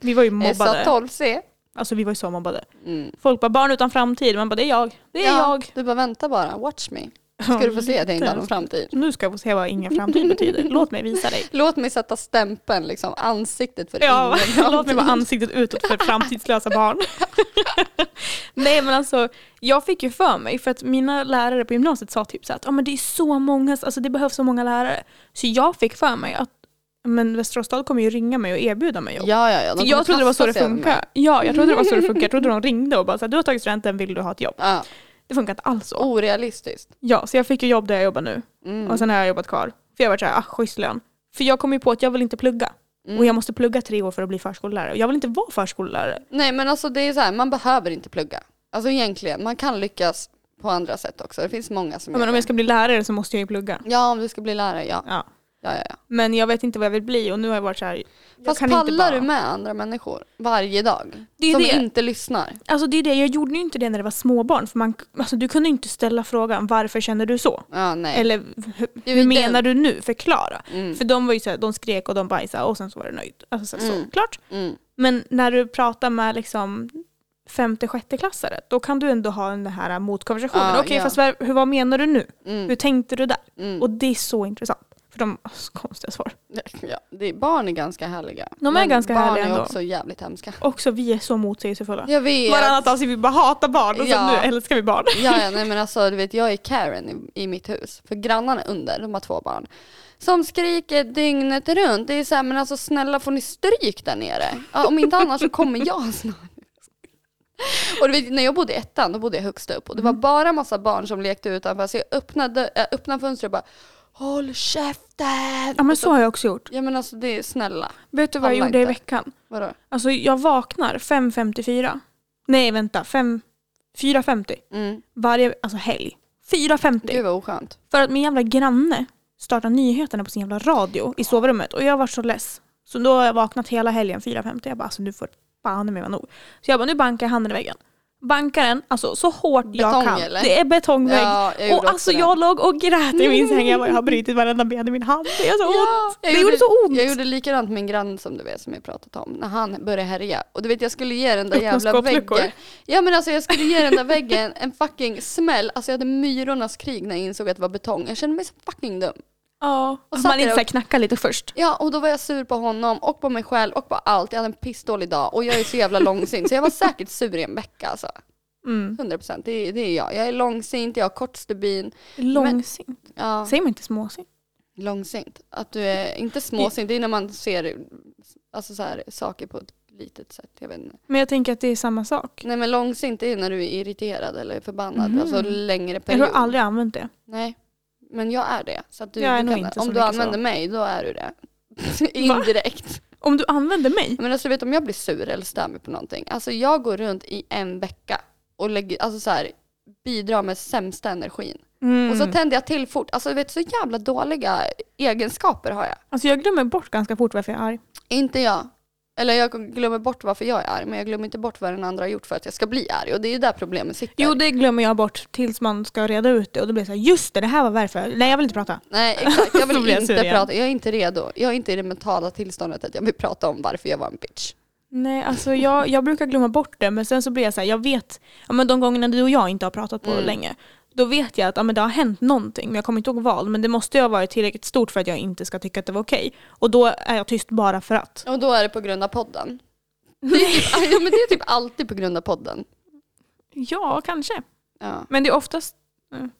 B: Vi var ju Alltså, mobbade.
A: SA12C.
B: Alltså vi var ju så mobbade.
A: Mm.
B: Folk bara barn utan framtid. Man bara det är jag. Det är
A: Ja,
B: jag.
A: Du bara vänta bara, watch me. Ska du få se att jag inte har någon framtid.
B: Nu ska jag få se vad ingen framtid betyder. Låt mig visa dig.
A: Låt mig sätta stämpeln, liksom, ansiktet för
B: Ja,
A: ingen framtid.
B: låt mig vara ansiktet utåt för framtidslösa barn. Nej men alltså, jag fick ju för mig, för att mina lärare på gymnasiet sa typ så att "Ja, men det är så många, alltså det behövs så många lärare. Så jag fick för mig att men Västerås stad kommer ju ringa mig och erbjuda mig jobb.
A: Ja, ja, ja.
B: För
A: de kommer
B: jag trodde det var så
A: kasta
B: det
A: sig över mig.
B: funkar. Ja, jag trodde det var så det funkar. Jag trodde de ringde och bara så här, du har tagit studenten, vill du ha ett jobb?
A: Ja,
B: Det funkar inte alls så.
A: orealistiskt.
B: Ja, så jag fick ju jobb där jag jobbar nu.
A: Mm.
B: Och sen har jag jobbat kvar. För jag har varit såhär, ah schysst lön. För jag kom ju på att jag vill inte plugga.
A: Mm.
B: Och jag måste plugga tre år för att bli förskollärare. Och jag vill inte vara förskollärare.
A: Nej, men alltså det är så här, man behöver inte plugga. Alltså egentligen, man kan lyckas på andra sätt också. Det finns många som
B: Ja, men
A: gör
B: om jag
A: det.
B: ska bli lärare så måste jag ju plugga.
A: Ja, om du ska bli lärare, ja.
B: Ja.
A: ja, ja, ja.
B: Men jag vet inte vad jag vill bli och nu har jag varit så här. jag
A: Fast
B: kan
A: pallar
B: inte bara...
A: du med andra människor varje dag?
B: Det är
A: som
B: det.
A: inte lyssnar.
B: Alltså det är det, jag gjorde ju inte det när det var småbarn. För man, alltså, du kunde ju inte ställa frågan varför känner du så?
A: Ja, nej.
B: Eller hur,
A: Det är
B: hur
A: ju
B: menar du nu? Förklara.
A: Mm.
B: För de var ju så här, de skrek och de bajsade och sen så var det nöjd. Alltså så, här,
A: Mm.
B: såklart.
A: Mm.
B: Men när du pratar med liksom femte, sjätte klassare, då kan du ändå ha den här motkonversationen.
A: Ja,
B: Okej,
A: ja.
B: fast vad, hur, vad menar du nu?
A: Mm.
B: Hur tänkte du där?
A: Mm.
B: Och det är så intressant. För de har så konstiga svar.
A: Ja, det är, barn är ganska härliga.
B: De är ganska
A: barn
B: härliga
A: är
B: ändå.
A: också jävligt hemska.
B: Också vi är så motsägelsefulla.
A: Jag vet.
B: Varannat avsnitt vi bara hatar barn och sen
A: Ja.
B: nu älskar vi barn.
A: Ja, ja, nej men alltså du vet jag är Karen i, i mitt hus. För grannarna under, de har två barn. Som skriker dygnet runt. Det är så här, men alltså snälla får ni stryk där nere? Ja, om inte annars så kommer jag snart. Och du vet, när jag bodde i
B: Mm.
A: ettan, då bodde jag högst upp. Och det var bara massa barn som lekte utanför. Så jag öppnade, äh, öppnade fönstret och bara Håll käften!
B: Ja men
A: Och
B: så har jag också gjort.
A: Ja men alltså det är snälla.
B: Vet du vad jag
A: Pallar
B: gjorde i
A: inte.
B: veckan?
A: Vadå?
B: Alltså jag vaknar 5.54. Nej vänta, fem- 4.50.
A: Mm.
B: Varje alltså helg. 4.50.
A: Gud vad oskönt.
B: För att min jävla granne startade nyheterna på sin jävla radio i sovrummet och jag var så less. Så då har jag vaknat hela helgen 4.50. Jag bara alltså nu får fan i mig vara nog. Så jag bara nu bankar jag handen i väggen. Bankar den alltså så hårt jag
A: Betong,
B: kan.
A: eller?
B: Det är betongvägg.
A: Ja, jag gjorde
B: och
A: också
B: alltså
A: det.
B: jag låg och grät i min säng. Jag bara jag har brutit varenda ben i min hand. Det gör så ont.
A: Ja,
B: Det gjorde så ont.
A: Jag gjorde likadant med min granne som du vet som jag pratat om. När han började härja. Och du vet jag skulle ge den där
B: Öppna
A: jävla
B: skåpluckor.
A: väggen. Ja men alltså jag skulle ge den där väggen en fucking smäll. Alltså jag hade myrornas krig när jag insåg att det var betong. Jag kände mig så fucking dum.
B: Ja.
A: Och
B: Att
A: satt
B: man inte
A: där
B: så här knackar lite först.
A: Ja och då var jag sur på honom och på mig själv och på allt. Jag hade en pissdålig dag och jag är så jävla långsint. Så jag var säkert sur i en vecka alltså.
B: Mm.
A: 100 procent, det, är- det är jag. Jag är långsint, jag har kort stubin.
B: Långsint.
A: Ja,
B: Säger man inte småsint?
A: långsint. Att du är inte småsint, det är när man ser alltså så här, saker på ett litet sätt. Jag vet inte.
B: Men jag tänker att det är samma sak.
A: Nej men långsint det är när du är irriterad eller förbannad.
B: Mhm.
A: Alltså längre
B: Jag
A: period.
B: har aldrig använt det.
A: Nej. Men jag är det. Så att du,
B: Jag är
A: du
B: nog
A: kan,
B: inte så
A: om du
B: mycket så.
A: använder mig då är du det. Indirekt.
B: Om du använder mig?
A: Men alltså du vet om jag blir sur eller stör mig på någonting. Alltså jag går runt i en vecka och lägger, alltså så här, bidrar med sämsta energin.
B: Mm.
A: Och så tänder jag till fort. Alltså du vet så jävla dåliga egenskaper har jag.
B: Alltså jag glömmer bort ganska fort varför jag är arg.
A: Inte jag. Eller jag glömmer bort varför jag är arg men jag glömmer inte bort vad den andra har gjort för att jag ska bli arg och det är ju där problemet sitter.
B: Jo det glömmer jag bort tills man ska reda ut det och då blir det så här, just det, det här var varför. Nej jag vill inte prata.
A: Nej exakt, jag
B: Så
A: vill
B: blir jag
A: inte
B: sur igen.
A: prata. Jag är inte redo. Jag är inte i det mentala tillståndet att jag vill prata om varför jag var en bitch.
B: Nej alltså jag, jag brukar glömma bort det men sen så blir jag så här, jag vet, ja, men de gångerna du och jag inte har pratat på
A: Mm.
B: länge, då vet jag att ja, men det har hänt någonting men jag kommer inte ihåg vad. Men det måste ju ha varit tillräckligt stort för att jag inte ska tycka att det var okej. Och då är jag tyst bara för att.
A: Och då är det på grund av podden. Det är typ, ja, men det är typ alltid på grund av podden.
B: Ja kanske.
A: Ja.
B: Men det är oftast... Mm.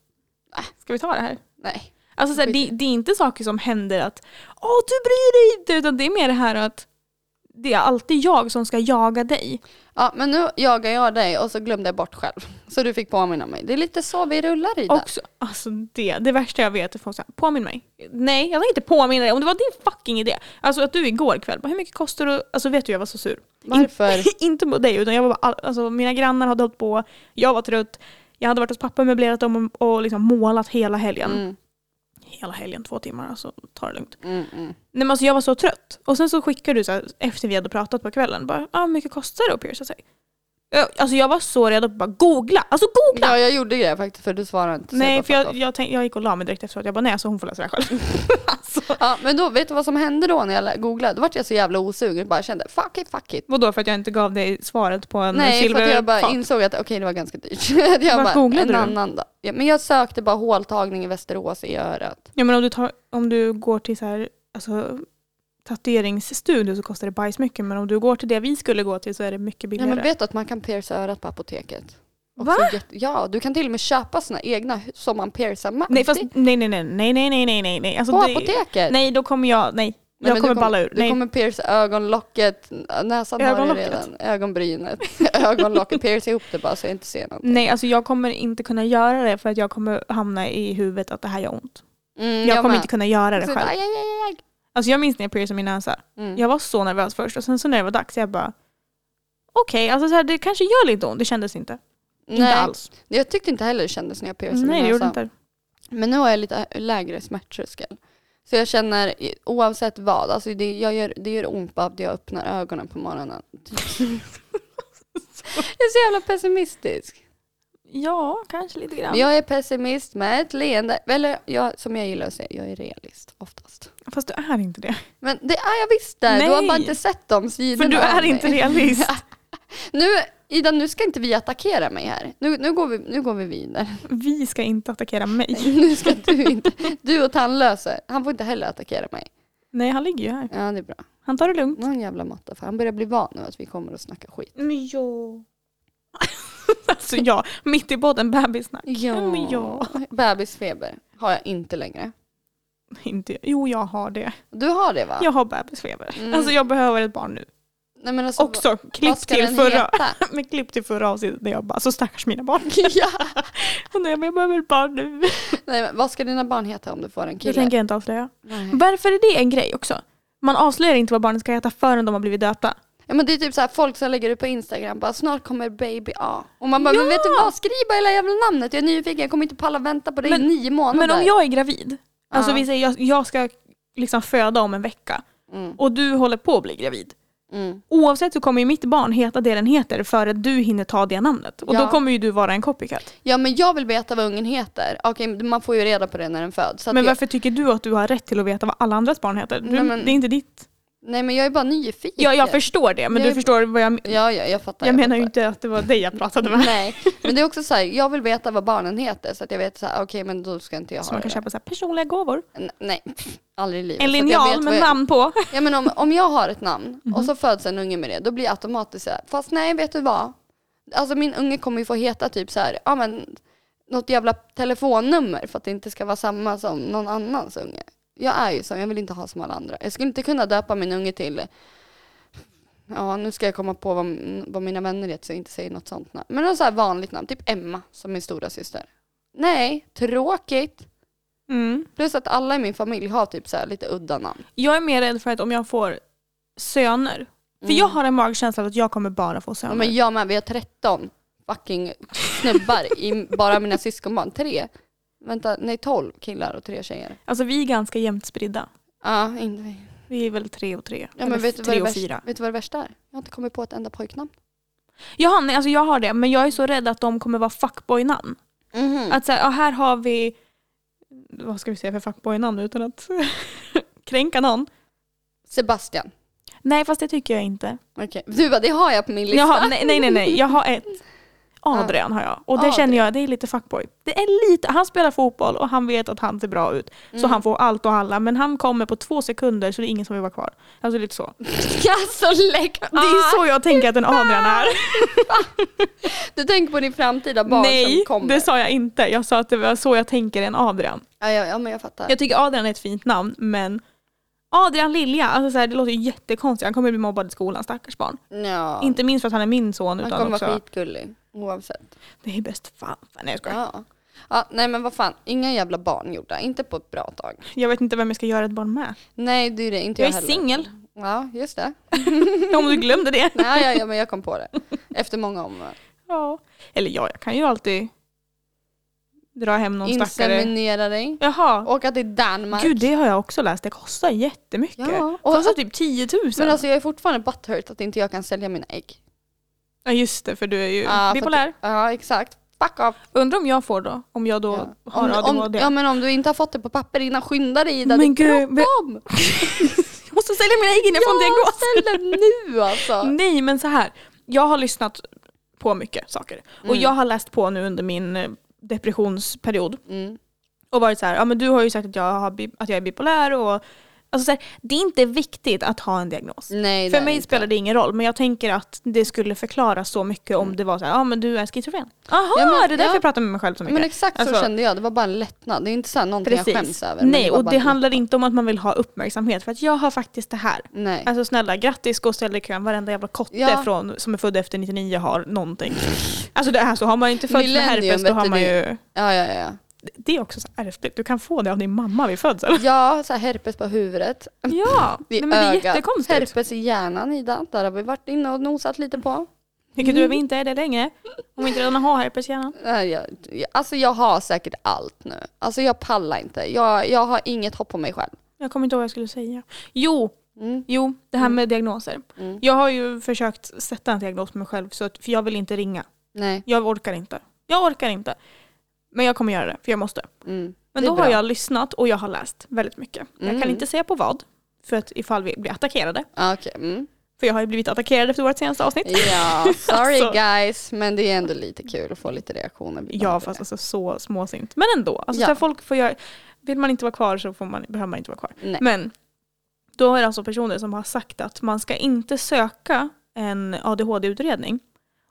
B: Äh, Ska vi ta det här?
A: Nej.
B: Alltså såhär,
A: Skit i
B: det, det är inte saker som händer att Åh du bryr dig inte! Utan det är mer det här att det är alltid jag som ska jaga dig.
A: Ja, men nu jagar jag dig och så glömde jag bort själv. Så du fick påminna mig. Det är lite så vi rullar i det.
B: Och så, alltså det, det värsta jag vet är folk såhär, påminn mig. Nej, jag tänker inte påminna dig om det var din fucking idé. Alltså att du igår kväll bara, hur mycket kostar det? Alltså vet du jag var så sur.
A: Varför?
B: inte mot dig utan jag var bara, all- alltså mina grannar hade hållit på, jag var trött, jag hade varit hos pappa och möblerat om och, och liksom målat hela helgen.
A: Mm,
B: Hela helgen, två timmar, alltså ta det lugnt.
A: mm, mm.
B: Nej men alltså jag var så trött. Och sen så skickade du så här, efter vi hade pratat på kvällen, bara ah, hur mycket kostar det att pierca sig? Ja, Alltså jag var så redo på att bara googla, alltså googla!
A: Ja, jag gjorde det faktiskt för du svarade inte. så
B: nej
A: bara
B: för jag,
A: fuck off.
B: jag, tänkte, jag gick och la mig direkt efteråt, jag bara nej alltså hon får läsa det här själv. alltså,
A: Ja, men då, vet du vad som hände då när jag googlade? Då vart jag så jävla osugen. Jag bara kände fuck it, fuck it.
B: vadå för att jag inte gav dig svaret på en
A: Nej, för att jag bara
B: silverfat?
A: insåg att okej, det var ganska dyrt. jag
B: Vart
A: bara,
B: googlade
A: en
B: du?
A: annan då. Ja, men jag sökte bara håltagning i Västerås i örat.
B: Ja men om du, tar, om du går till så här, alltså, tatueringsstudio så kostar det bajsmycket men om du går till det vi skulle gå till så är det mycket
A: Ja,
B: billigare.
A: men vet du att man kan pierca örat på apoteket?
B: Va?
A: Också jätte- ja, du kan till och med köpa sina egna som man piercar med.
B: nej fast nej nej nej nej nej nej nej nej nej. Alltså,
A: På
B: det-
A: apoteket?
B: Nej då kommer jag, nej.
A: Nej,
B: jag
A: men
B: kommer
A: du
B: balla ur.
A: Du
B: Nej.
A: kommer pierca ögonlocket, näsan har jag
B: Ögonlocket.
A: redan, ögonbrynet, ögonlocket, pierca ihop det bara så jag inte ser något.
B: Nej, alltså jag kommer inte kunna göra det för att jag kommer hamna i huvudet att det här gör ont.
A: Mm,
B: Jag, kommer
A: med.
B: inte kunna göra det
A: Så bara,
B: själv.
A: aj, aj, aj, aj.
B: Alltså jag minns när jag piercade min näsa.
A: Mm.
B: Jag var så nervös först och sen så när det var dags jag bara okej, alltså så här, det kanske gör lite ont. Det kändes inte. Inte
A: Nej,
B: alls.
A: Jag tyckte inte heller det kändes när jag piercade
B: Nej, det
A: min
B: gjorde
A: näsa.
B: inte.
A: Men nu har jag lite lägre smärttröskel. Så jag känner i- oavsett vad, alltså det, jag gör, det gör ont bara att jag öppnar ögonen på morgonen. jag är så jävla pessimistisk.
B: Ja, kanske lite grann.
A: Men jag är pessimist med ett leende. Eller jag, som jag gillar att säga, jag är realist oftast.
B: Fast du är inte det.
A: Men det är jag visst det. Du har
B: Nej.
A: bara inte sett de sidorna
B: För du
A: av
B: är
A: mig.
B: inte realist.
A: Nu, Ida, nu ska inte vi attackera mig här. Nu, nu, går, vi, nu går vi vidare.
B: Vi ska inte attackera mig.
A: Nu ska du inte... Du och tandlöse, han får inte heller attackera mig.
B: Nej, han ligger ju här.
A: Ja, det är bra.
B: Han tar det lugnt.
A: Någon jävla matta, för han börjar bli van nu att vi kommer att snacka skit.
B: Men ja. alltså ja, mitt i podden bebissnack. Ja, men ja.
A: Bebisfeber har jag inte längre.
B: Inte, jo, jag har det.
A: Du har det va?
B: Jag har bebisfeber.
A: Mm.
B: Alltså jag behöver ett barn nu.
A: Nej, men alltså,
B: Också klipp till, förra, med klipp till förra avsnittet där jag bara, så stackars mina barn.
A: ja.
B: Och nej, men jag behöver ett barn nu.
A: Nej, men vad ska dina barn heta om du får en
B: Det
A: kille?
B: tänker jag inte avslöja.
A: Nej.
B: Varför är det en grej också? Man avslöjar inte vad barnen ska heta förrän de har blivit döpta.
A: Ja, men det är typ så här, folk som lägger ut på Instagram bara snart kommer baby A. Och man bara,
B: Ja!
A: men vet du vad, skriv bara hela jävla namnet. Jag är nyfiken, jag kommer inte palla vänta på dig
B: Men-
A: i nio månader.
B: Men om jag är gravid, alltså
A: Ja.
B: vi säger jag, jag ska liksom föda om en vecka
A: Mm,
B: och du håller på att bli gravid.
A: mm.
B: Oavsett så kommer ju mitt barn heta det den heter före du hinner ta det namnet. Och
A: Ja.
B: då kommer ju du vara en copycat.
A: Ja men jag vill veta vad ungen heter. Okej, man får ju reda på det när den föds. Så att
B: Men
A: jag,
B: varför tycker du att du har rätt till att veta vad alla andras barn heter? Du,
A: Nej, men-
B: det är inte ditt.
A: nej men jag är bara nyfiken.
B: Ja, jag förstår det, men
A: Jag
B: du
A: är-
B: förstår vad jag menar.
A: Ja, ja, jag fattar.
B: Jag menar ju
A: fattar.
B: inte att det var dig jag pratade med.
A: Nej, men det är också så här, jag vill veta vad barnen heter så att jag vet så här, okej men då ska inte jag
B: Så
A: ha
B: man
A: det.
B: kan köpa så här personliga gåvor.
A: N- Nej, pff, aldrig i livet.
B: En
A: Så att jag vet
B: linjal
A: vad
B: med
A: jag-
B: namn på.
A: Ja men om, om jag har ett namn
B: Mhm.
A: och så föds en unge med det, då blir jag automatiskt så här, fast nej vet du vad? Alltså min unge kommer ju få heta typ så här, ja men något jävla telefonnummer för att det inte ska vara samma som någon annans unge. Jag är ju så, jag vill inte ha som alla andra. Jag skulle inte kunna döpa min unge till, ja nu ska jag komma på vad, vad mina vänner heter så jag inte säger något sånt namn. Men något så här vanligt namn, typ Emma som min stora syster. Nej, tråkigt.
B: Mm.
A: Plus att alla i min familj har typ så här lite udda namn.
B: Jag är mer rädd för att om jag får söner. För
A: Mm.
B: jag har en magkänsla av att jag kommer bara få
A: Ja,
B: söner.
A: men jag med, vi har 13 fucking snubbar i bara mina syskonbarn. Tre, vänta, nej 12 killar och tre tjejer.
B: Alltså vi är ganska jämnt spridda.
A: Ja, inte.
B: Vi är väl tre och tre.
A: Ja,
B: eller
A: men vet du, vad
B: tre
A: det
B: och
A: värsta,
B: fyra.
A: vet du vad det värsta är? Jag har inte kommit på ett enda pojknamn.
B: Jaha, nej, alltså jag har det. Men jag är så rädd att de kommer vara fuckboy-namn.
A: Mm.
B: Att så här, ja, här har vi... Vad ska vi säga för fuckboy-namn utan att kränka någon?
A: Sebastian.
B: Nej, fast det tycker jag inte.
A: Okej. Du bara, det har jag på min lista.
B: Jag har, nej, nej, nej, nej. Jag har ett. Adrian har jag. Och det
A: Adrian.
B: känner jag, det är lite fuckboy. Det är lite, han spelar fotboll och han vet att han ser bra ut. Så
A: Mm.
B: han får allt och alla. Men han kommer på två sekunder så det är ingen som vill vara kvar. Alltså lite så.
A: Alltså lägg
B: Det är så jag tänker att en Adrian är.
A: Du tänker på din framtida barn
B: Nej,
A: som kommer.
B: det sa jag inte. Jag sa att det var så jag tänker en Adrian.
A: ja, ja, ja, men jag fattar.
B: Jag tycker Adrian är ett fint namn men Adrian Lilja, alltså så här, det låter ju jättekonstigt. Han kommer bli mobbad i skolan, stackars barn.
A: ja.
B: Inte minst för att han är min son
A: Han
B: utan
A: kommer
B: också...
A: vara skitgullig oavsett.
B: Det är bäst fan. Nej jag skojar.
A: Ja. ja. Nej men vad fan, inga jävla barn gjorda. Inte på ett bra tag.
B: Jag vet inte vem jag ska göra ett barn med.
A: Nej det är det, inte jag,
B: Jag är
A: heller.
B: singel.
A: Ja, just det.
B: Om du glömde det.
A: Nej, ja, ja, men jag kom på det. Efter många om.
B: Ja. Eller ja, jag kan ju alltid dra hem någon stackare.
A: Inseminera dig.
B: Jaha.
A: Åka till Danmark.
B: Gud, det har jag också läst. Det kostar jättemycket.
A: ja.
B: Och
A: och,
B: kostar typ 10 000.
A: men alltså jag är fortfarande butthurt att inte jag kan sälja mina ägg.
B: ja, just det, för du är ju
A: Ja, för att-
B: bipolär.
A: Ja, exakt. Fuck off.
B: Undrar om jag får då? Om jag då
A: Ja.
B: har
A: Om, om,
B: ADHD?
A: ja, men om du inte har fått det på papper innan, skynda dig Ida.
B: Men
A: det är
B: gud, vi-
A: bråttom!
B: Jag måste sälja mina ägg innan jag får en diagnos. Mm.
A: ställ den nu alltså.
B: Nej, men så här. Jag har lyssnat på mycket saker. Och jag har läst på nu under min eh, depressionsperiod.
A: Mm.
B: och varit så här, ja men du har ju sagt att jag, har, bi- att jag är bipolär och alltså så här, det är inte viktigt att ha en diagnos.
A: Nej, det
B: För
A: är
B: mig
A: inte.
B: spelar det ingen roll, men jag tänker att det skulle förklara så mycket om det var så här, ja men du är schizofren. Jaha,
A: Ja, men-
B: det är därför
A: Mm. ja.
B: jag pratar med mig själv så mycket.
A: Men exakt så
B: Alltså-
A: kände jag, det var bara en lättnad. Det är inte så här någonting
B: Precis.
A: jag skäms över. men
B: Nej,
A: var
B: och
A: bara
B: det
A: en-
B: handlar inte om att man vill ha uppmärksamhet för att jag har faktiskt det här.
A: Nej.
B: Alltså snälla, grattis gå och ställ dig i kön. Varenda jävla kotte
A: Ja.
B: från, som är född efter 99 har någonting. Alltså det här, så har man inte fötts med
A: Millennium,
B: herpes då
A: vet
B: har
A: du,
B: man
A: det-
B: ju...
A: Ja, ja, ja.
B: Det är också så här ärftligt, du kan få det av din mamma vid födseln.
A: Ja, så här herpes på huvudet.
B: Ja,
A: I
B: nej, men det är
A: ögat.
B: jättekonstigt.
A: Herpes i hjärnan Ida, där har vi varit inne och nosat lite på.
B: Vilket
A: Mm.
B: du inte är det längre. Om vi inte redan har herpes i hjärnan.
A: Nej, Jag, jag- alltså jag har säkert allt nu. Alltså jag pallar inte. Jag, jag har inget hopp om mig själv.
B: Jag kommer inte ihåg vad jag skulle säga. Jo,
A: Mm.
B: jo det här med diagnoser.
A: Mm.
B: Jag har ju försökt sätta en diagnos på mig själv så att, för jag vill inte ringa.
A: Nej.
B: Jag orkar inte. Jag orkar inte. Men jag kommer göra det, för jag måste.
A: Mm.
B: Men
A: Det är
B: då
A: bra.
B: har jag lyssnat och jag har läst väldigt mycket. Jag
A: Mm.
B: kan inte säga på vad, för att ifall vi blir attackerade.
A: Ah, Okej. Mm.
B: För jag har ju blivit attackerad efter vårt senaste avsnitt.
A: Ja, sorry
B: Alltså.
A: guys. Men det är ändå lite kul att få lite reaktioner.
B: Ja fast alltså så småsint. Men ändå. Alltså,
A: Ja.
B: så här, folk får göra, vill man inte vara kvar så får man, behöver man inte vara kvar.
A: Nej.
B: Men då är det alltså personer som har sagt att man ska inte söka en ADHD-utredning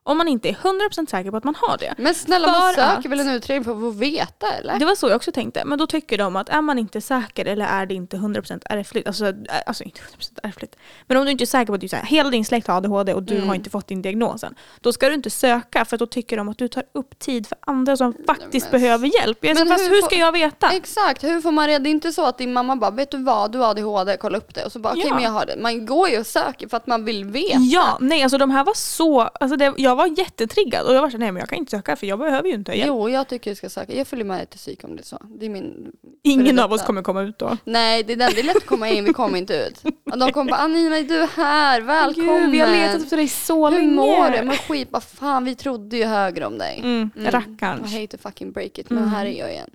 B: Om man inte är 100% säker på att man har det.
A: Men snälla man
B: För
A: söker
B: att-
A: väl en utredning för att få veta eller?
B: Det var så jag också tänkte. Men då tycker de att är man inte säker eller är det inte 100% ärftligt, alltså, äh, alltså inte 100% ärftligt, men om du inte är säker på att du, så här, hela din släkt har ADHD och du
A: Mm.
B: har inte fått din diagnosen, då ska du inte söka för då tycker de att du tar upp tid för andra som faktiskt
A: men-
B: behöver hjälp. Jag är så,
A: Men
B: fast
A: hur
B: hur
A: får-
B: ska jag veta?
A: Exakt, hur får man reda? Det är inte så att din mamma bara, vet du vad, du har ADHD, kolla upp det. Och så bara, okej
B: Ja.
A: men jag har det. Man går ju och söker för att man vill veta.
B: Ja, nej alltså de här var så, alltså det, jag var jättetriggad och jag var så här, nej men jag kan inte söka för jag behöver ju inte hjälp.
A: Jo, jag tycker du ska söka. Jag följer med dig till psyk om det är så. Det är min...
B: Ingen
A: detta.
B: av oss kommer komma ut då.
A: Nej, det är, den. det är lätt att komma in, vi kommer inte ut. Och de kommer bara, Anina är du här? Välkommen!
B: Gud, vi har letat efter dig så
A: Hur
B: länge.
A: mår du? Men skit, vad fan, vi trodde ju högre om dig.
B: Mm,
A: Mm. I
B: Rackarns. Mm.
A: hate to fucking break it, men här är jag igen.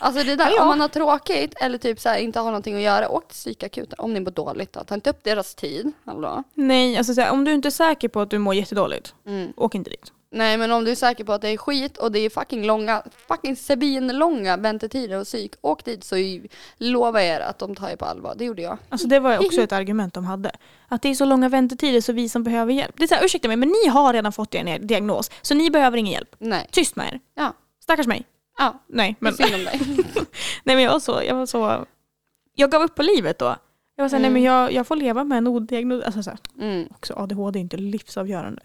A: Alltså det där,
B: Ja, ja.
A: om man har tråkigt eller typ så här, inte har någonting att göra, åk till psykakuten om ni mår dåligt. Då. Ta inte upp deras tid. Hallå?
B: Nej, alltså så här, om du inte är säker på att du mår jättedåligt,
A: Mm.
B: åk inte dit.
A: Nej men om du är säker på att det är skit och det är fucking långa, fucking sebinlånga väntetider och psyk, åk dit så ju- lovar jag er att de tar er på allvar. Det gjorde jag.
B: Alltså det
A: Mm.
B: var också ett argument de hade. Att det är så långa väntetider så vi som behöver hjälp. Det är så här, ursäkta mig men ni har redan fått er diagnos så ni behöver ingen hjälp.
A: Nej.
B: Tyst med er.
A: Ja.
B: Stackars mig.
A: Ja,
B: Nej
A: men.
B: men,
A: synd om dig.
B: nej, men jag, var så, jag var så... Jag gav upp på livet då. Jag var såhär,
A: Mm.
B: nej men jag, jag får leva med en odiagnos... Alltså så här,
A: Mm.
B: också ADHD är inte livsavgörande.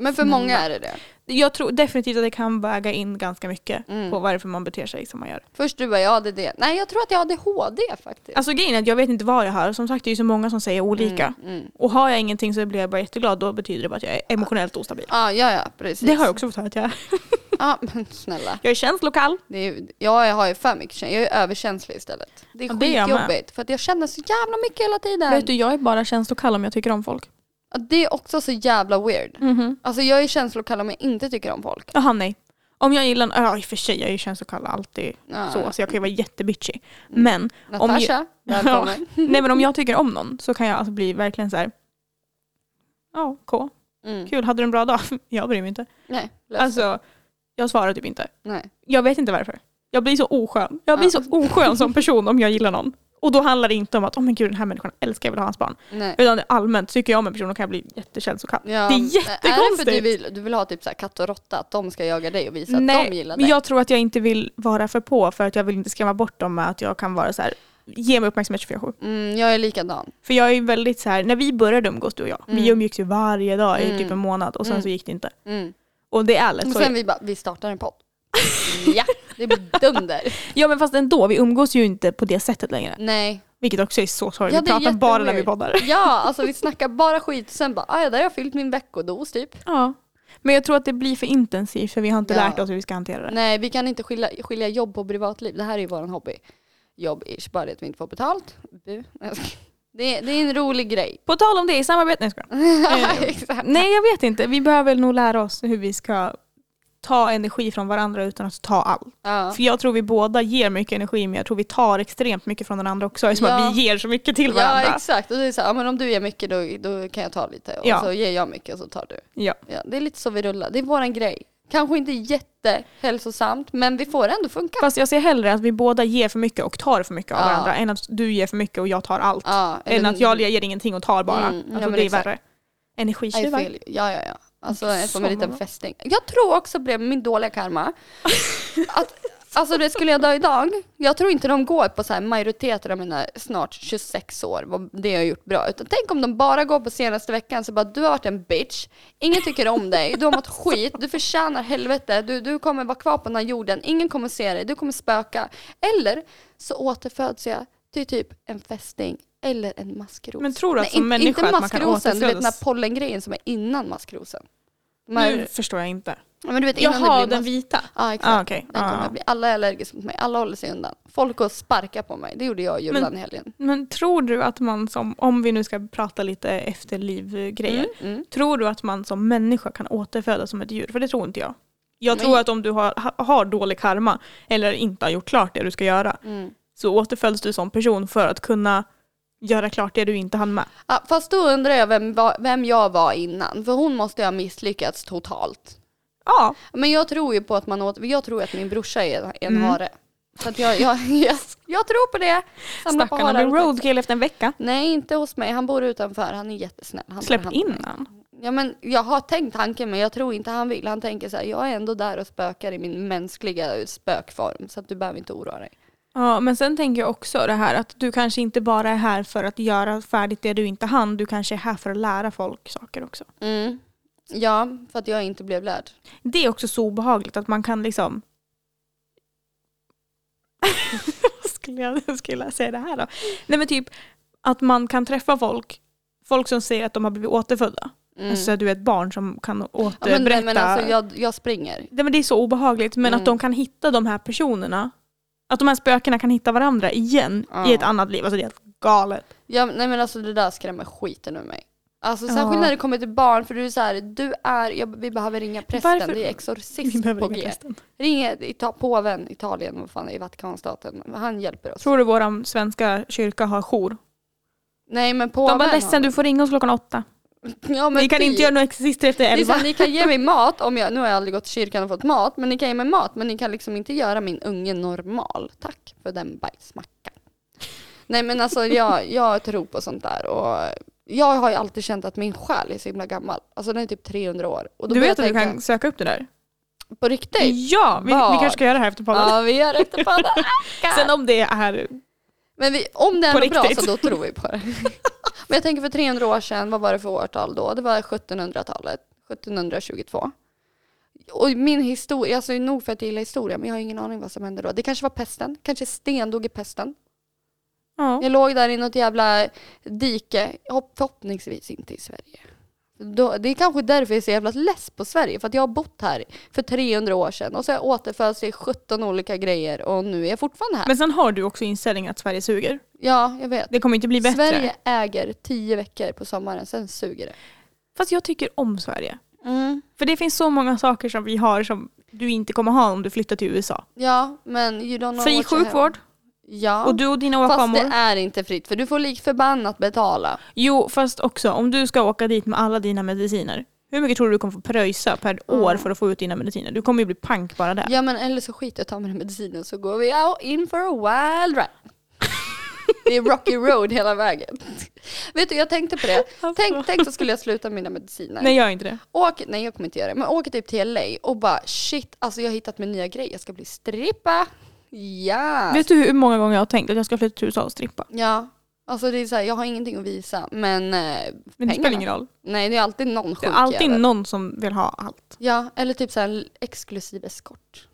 A: Men för många är det det.
B: Jag tror definitivt att det kan väga in ganska mycket
A: Mm.
B: på varför man beter sig som man gör.
A: Först du bara, jag hade det. Nej jag tror att jag hade ADHD faktiskt.
B: Alltså grejen är att jag vet inte vad jag har. Som sagt det är ju så många som säger olika.
A: Mm, mm.
B: Och har jag ingenting så blir jag bara jätteglad. Då betyder det bara att jag är emotionellt ostabil.
A: Ja, ja, ja, precis.
B: Det har jag också fått höra att jag är.
A: Ja, men snälla.
B: Jag är känslokall.
A: Det är, ju- ja, jag har ju för mycket känslor. Jag är överkänslig istället. Det är
B: Ja, det är jag med.
A: skitjobbigt för att jag känner så jävla mycket hela tiden.
B: Vet du, jag är bara känslokall om jag tycker om folk.
A: Ja, Det är också så jävla weird.
B: Mhm.
A: Alltså jag är känslokall om jag inte tycker om folk.
B: Jaha, nej. Om jag gillar, ja i och för sig, jag är ju känslokall alltid
A: Ja, Mm.
B: så, så jag kan ju vara jättebitchig. Men, om ju,
A: Natasha, välkommen.
B: nej, men om jag tycker om någon så kan jag alltså bli verkligen så här. Ja, K.
A: Mm.
B: Kul, hade du en bra dag? Jag bryr mig inte.
A: Nej, lös.
B: Alltså, jag svarar typ inte.
A: Nej.
B: Jag vet inte varför. Jag blir så oskön. Jag blir
A: Ja.
B: så oskön som person om jag gillar någon. Och då handlar det inte om att, åh men gud den här människan älskar jag vill ha hans barn.
A: Nej.
B: Utan det är allmänt, tycker jag om en person då kan jag bli jättekänslokall.
A: Ja,
B: det är
A: men Är det för
B: jättekonstigt.
A: att du vill, du vill ha typ så här katt och råtta, att de ska jaga dig och visa att de gillar
B: men
A: dig?
B: jag tror att jag inte vill vara för på för att jag vill inte skrämma bort dem med att jag kan vara så här, ge mig uppmärksamhet 24-7.
A: Mm, jag är likadan.
B: För jag är ju väldigt så här, när vi började umgås du och jag,
A: Mm.
B: vi umgicks ju varje dag i
A: Mm.
B: typ en månad och sen
A: Mm.
B: så gick det inte.
A: Mm.
B: Och det är ärligt.
A: Och
B: Så
A: sen vi bara, vi startar en podd. ja, det blir dunder.
B: Ja men fast ändå, vi umgås ju inte på det sättet längre.
A: Nej.
B: Vilket också är så sorgligt,
A: Ja,
B: vi
A: det är
B: pratar bara när vi
A: jätteweird.
B: poddar.
A: Ja, alltså vi snackar bara skit och sen bara, "Ah, ja, där har jag fyllt min veckodos typ.
B: Ja. Men jag tror att det blir för intensivt för vi har inte
A: Ja.
B: lärt oss hur vi ska hantera det.
A: Nej, vi kan inte skilja, skilja jobb och privatliv. Det här är ju vår hobby. Jobb-ish, bara det att vi inte får betalt. Bu. Jag ska- Det är, det är en rolig grej.
B: På tal om det i samarbete, nej jag skojar.
A: Exakt.
B: Nej jag vet inte, vi behöver nog lära oss hur vi ska ta energi från varandra utan att ta allt.
A: Ja.
B: För jag tror vi båda ger mycket energi men jag tror vi tar extremt mycket från den andra också eftersom
A: Ja.
B: att vi ger så mycket till
A: ja,
B: varandra.
A: exakt. Och det är så här, ja, men om du ger mycket då, då kan jag ta lite. Och
B: Ja.
A: så ger jag mycket och så tar du.
B: Ja,
A: Ja, det är lite så vi rullar. Det är våran grej. Kanske inte jättehälsosamt, men vi får det ändå funka.
B: Fast jag ser hellre att vi båda ger för mycket och tar för mycket av
A: Ja.
B: varandra än att du ger för mycket och jag tar allt.
A: Ja,
B: Än att jag ger ingenting och tar bara.
A: Mm, ja,
B: alltså,
A: men
B: det är
A: exakt.
B: värre.
A: I
B: Energitjuvar.
A: feel you. Ja, ja, ja. Alltså
B: Så
A: som en liten
B: många.
A: fästing. Jag tror också det blev min dåliga karma. Att, alltså det skulle jag dö idag, jag tror inte de går på så här majoriteten av mina snart 26 år, vad det jag har gjort bra. Utan tänk om de bara går på senaste veckan så bara du har varit en bitch, ingen tycker om dig, du har mått skit, du förtjänar helvete, du, du kommer vara kvar på den här jorden, ingen kommer se dig, du kommer spöka. Eller så återföds jag till typ en fästing eller en maskros.
B: Men tror du att
A: Nej,
B: som
A: in-
B: människa
A: inte
B: att man kan
A: maskrosen, du vet den
B: återfödas?
A: här pollengrejen som är innan maskrosen. De här-
B: Nu förstår Mm. jag inte.
A: ja, men du vet, innan
B: Jaha,
A: det blir
B: den
A: mas-
B: vita.
A: Ja, exakt.
B: Ah, okej.
A: Den kommer
B: Ah.
A: att bli. Alla är allergiska mot mig, alla håller sig undan. Folk går och sparkar på mig, det gjorde jag och Jullan i helgen.
B: Men tror du att man som, om vi nu ska prata lite efterlivgrejer,
A: Mm. Mm.
B: tror du att man som människa kan återfödas som ett djur? För det tror inte jag. Jag
A: Nej.
B: tror att om du har, ha- har dålig karma eller inte har gjort klart det du ska göra
A: Mm.
B: så återföds du som person för att kunna göra klart det du inte hann med.
A: Ja, fast då undrar jag vem, va- vem jag var innan, för hon måste ju ha misslyckats totalt.
B: Ja,
A: Men jag tror ju på att man åt, jag tror att min brorsa är en
B: Mm.
A: hare. Så att jag, jag, jag, jag tror på det. Samla på
B: stackarna
A: harar
B: blev
A: och taxar.
B: roadkill efter en vecka.
A: Nej, inte hos mig. Han bor utanför. Han är jättesnäll. Han tar
B: Släpp
A: hand om
B: in
A: mig.
B: han.
A: Ja, men jag har tänkt tanken men jag tror inte han vill. Han tänker så här, jag är ändå där och spökar i min mänskliga spökform så att du behöver inte oroa dig.
B: Ja, men sen tänker jag också det här att du kanske inte bara är här för att göra färdigt det du inte hann. Du kanske är här för att lära folk saker också.
A: Mm. Ja, för att jag inte blev lärd.
B: Det är också så obehagligt att man kan liksom... Vad skulle jag, skulle jag säga det här då? Nej men typ att man kan träffa folk, folk som säger att de har blivit återfödda.
A: Mm.
B: Alltså du är ett barn som kan
A: ja, men,
B: återberätta.
A: nej, men alltså, jag, jag springer.
B: Nej, men det är så obehagligt men
A: Mm.
B: att de kan hitta de här personerna, att de här spökena kan hitta varandra igen
A: Ja.
B: i ett annat liv. Alltså det är helt galet.
A: Ja, nej men alltså det där skrämmer skiten ur mig. Alltså
B: Ja.
A: särskilt när det kommer till barn för du är så här, du är, jag, vi behöver ringa prästen,
B: Varför-
A: det är
B: Vi
A: exorcism
B: behöver
A: på
B: ringa
A: G.
B: prästen.
A: Ring Ita- påven, Italien, vad fan, i Vatikanstaten. Han hjälper oss.
B: Tror du våran svenska kyrka har jour?
A: Nej men påven.
B: De var
A: har-
B: ledsen, du får ringa oss klockan åtta.
A: Ja, men
B: Vi kan
A: typ.
B: inte göra några exorcister efter
A: Det är så
B: elva.
A: här, ni kan ge mig mat om jag, nu har jag aldrig gått till kyrkan och fått mat, men ni kan ge mig mat men ni kan liksom inte göra min unge normal. Tack för den bajsmackan. Nej men alltså jag, jag tror på sånt där och jag har ju alltid känt att min själ är så himla gammal. Alltså den är typ 300 år. Och då
B: Du
A: börjar
B: vet att
A: jag
B: du
A: tänka,
B: kan söka upp det där?
A: På riktigt?
B: Ja, vi, vi
A: Var?
B: kanske ska göra det här efter podden.
A: Ja vi gör efter podden.
B: Sen om det är...
A: Men vi, om det är
B: På
A: något bra
B: riktigt.
A: så då tror vi på det. Men jag tänker för 300 år sedan, vad var det för årtal då? Det var 1700-talet, 1722. Och min historia, alltså nog för att jag gillar historia, men jag har ingen aning vad som hände då. Det kanske var pesten, kanske Sten dog i pesten.
B: Ja.
A: Jag låg där i något jävla dike, hopp- förhoppningsvis inte i Sverige. Då, det är kanske därför jag är så jävla less på Sverige, för att jag har bott här för 300 år sedan och så har jag återfötts i 17 olika grejer och nu är jag fortfarande här.
B: Men sen har du också inställningen att Sverige suger.
A: ja, jag vet.
B: Det kommer inte bli bättre.
A: Sverige äger tio veckor på sommaren, sen suger det.
B: Fast jag tycker om Sverige. För det finns så många saker som vi har som du inte kommer ha om du flyttar till USA.
A: Ja, men you don't know
B: Fri
A: what you have.
B: sjukvård
A: Ja,
B: och du och dina
A: fast det
B: åkommor.
A: är inte fritt för du får lik förbannat betala.
B: Jo, fast också om du ska åka dit med alla dina mediciner. Hur mycket tror du du kommer få pröjsa per år för att få ut dina mediciner? Du kommer ju bli pank bara där.
A: Ja men eller så skiter jag och tar med den medicinen så går vi out in for a wild ride. Det är Rocky Road hela vägen. Vet du, jag tänkte på det.
B: Alltså.
A: Tänk, tänk så skulle jag sluta med mina mediciner.
B: Nej, gör inte det.
A: Åk, nej jag kommer inte göra det, men åker typ till LA och bara shit, alltså jag har hittat min nya grej, jag ska bli strippa. Ja!
B: Vet du hur många gånger jag har tänkt att jag ska flytta till USA och strippa?
A: Ja, alltså det är så här, jag har ingenting att visa men eh,
B: Men det
A: Pengarna.
B: spelar ingen roll.
A: nej det är alltid någon sjuk
B: Det är alltid
A: jävel.
B: någon som vill ha allt.
A: Ja, eller typ så här en exklusiv eskort.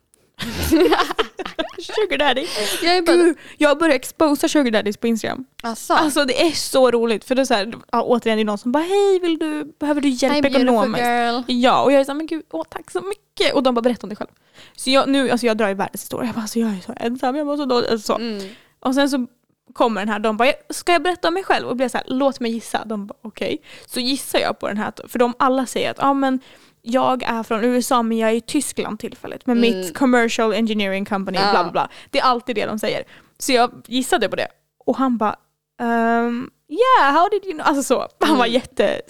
B: Sugar daddy.
A: Jag är bara,
B: Gud, jag börjar exposa sugar daddies på Instagram.
A: alltså,
B: Alltså det är så roligt för det är så här, ja, återigen det är någon som bara hej vill du, behöver du hjälp
A: hi beautiful
B: ekonomiskt?
A: girl.
B: Ja och jag är såhär men gud åh tack så mycket och de bara berättar om det själv. Så jag, nu, alltså jag drar ju världens historia, jag bara alltså jag är så ensam, jag mår så dåligt. Alltså, så.
A: Mm.
B: Och sen så kommer den här, de bara "Jag- ska jag berätta om mig själv? Och blir såhär låt mig gissa, de bara okej. Så gissar jag på den här, för de alla säger att ja men jag är från USA men jag är i Tyskland tillfälligt med
A: Mm.
B: mitt commercial engineering company
A: Ja.
B: bla bla bla. Det är alltid det de säger. Så jag gissade på det och han bara ehm, yeah how did you know? Alltså så, han var
A: Mm.
B: jätte,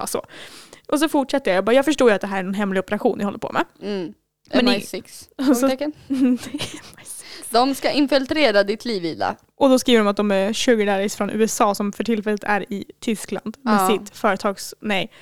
B: alltså. Och så fortsätter jag, jag bara jag förstår ju att det här är en hemlig operation ni håller på med.
A: Mm.
B: Men ni-
A: MI6?
B: Alltså-
A: Frågetecken. De ska infiltrera ditt liv Ida.
B: och då skriver de att de är sugar daddies från USA som för tillfället är i Tyskland med
A: Ja.
B: sitt företags, nej.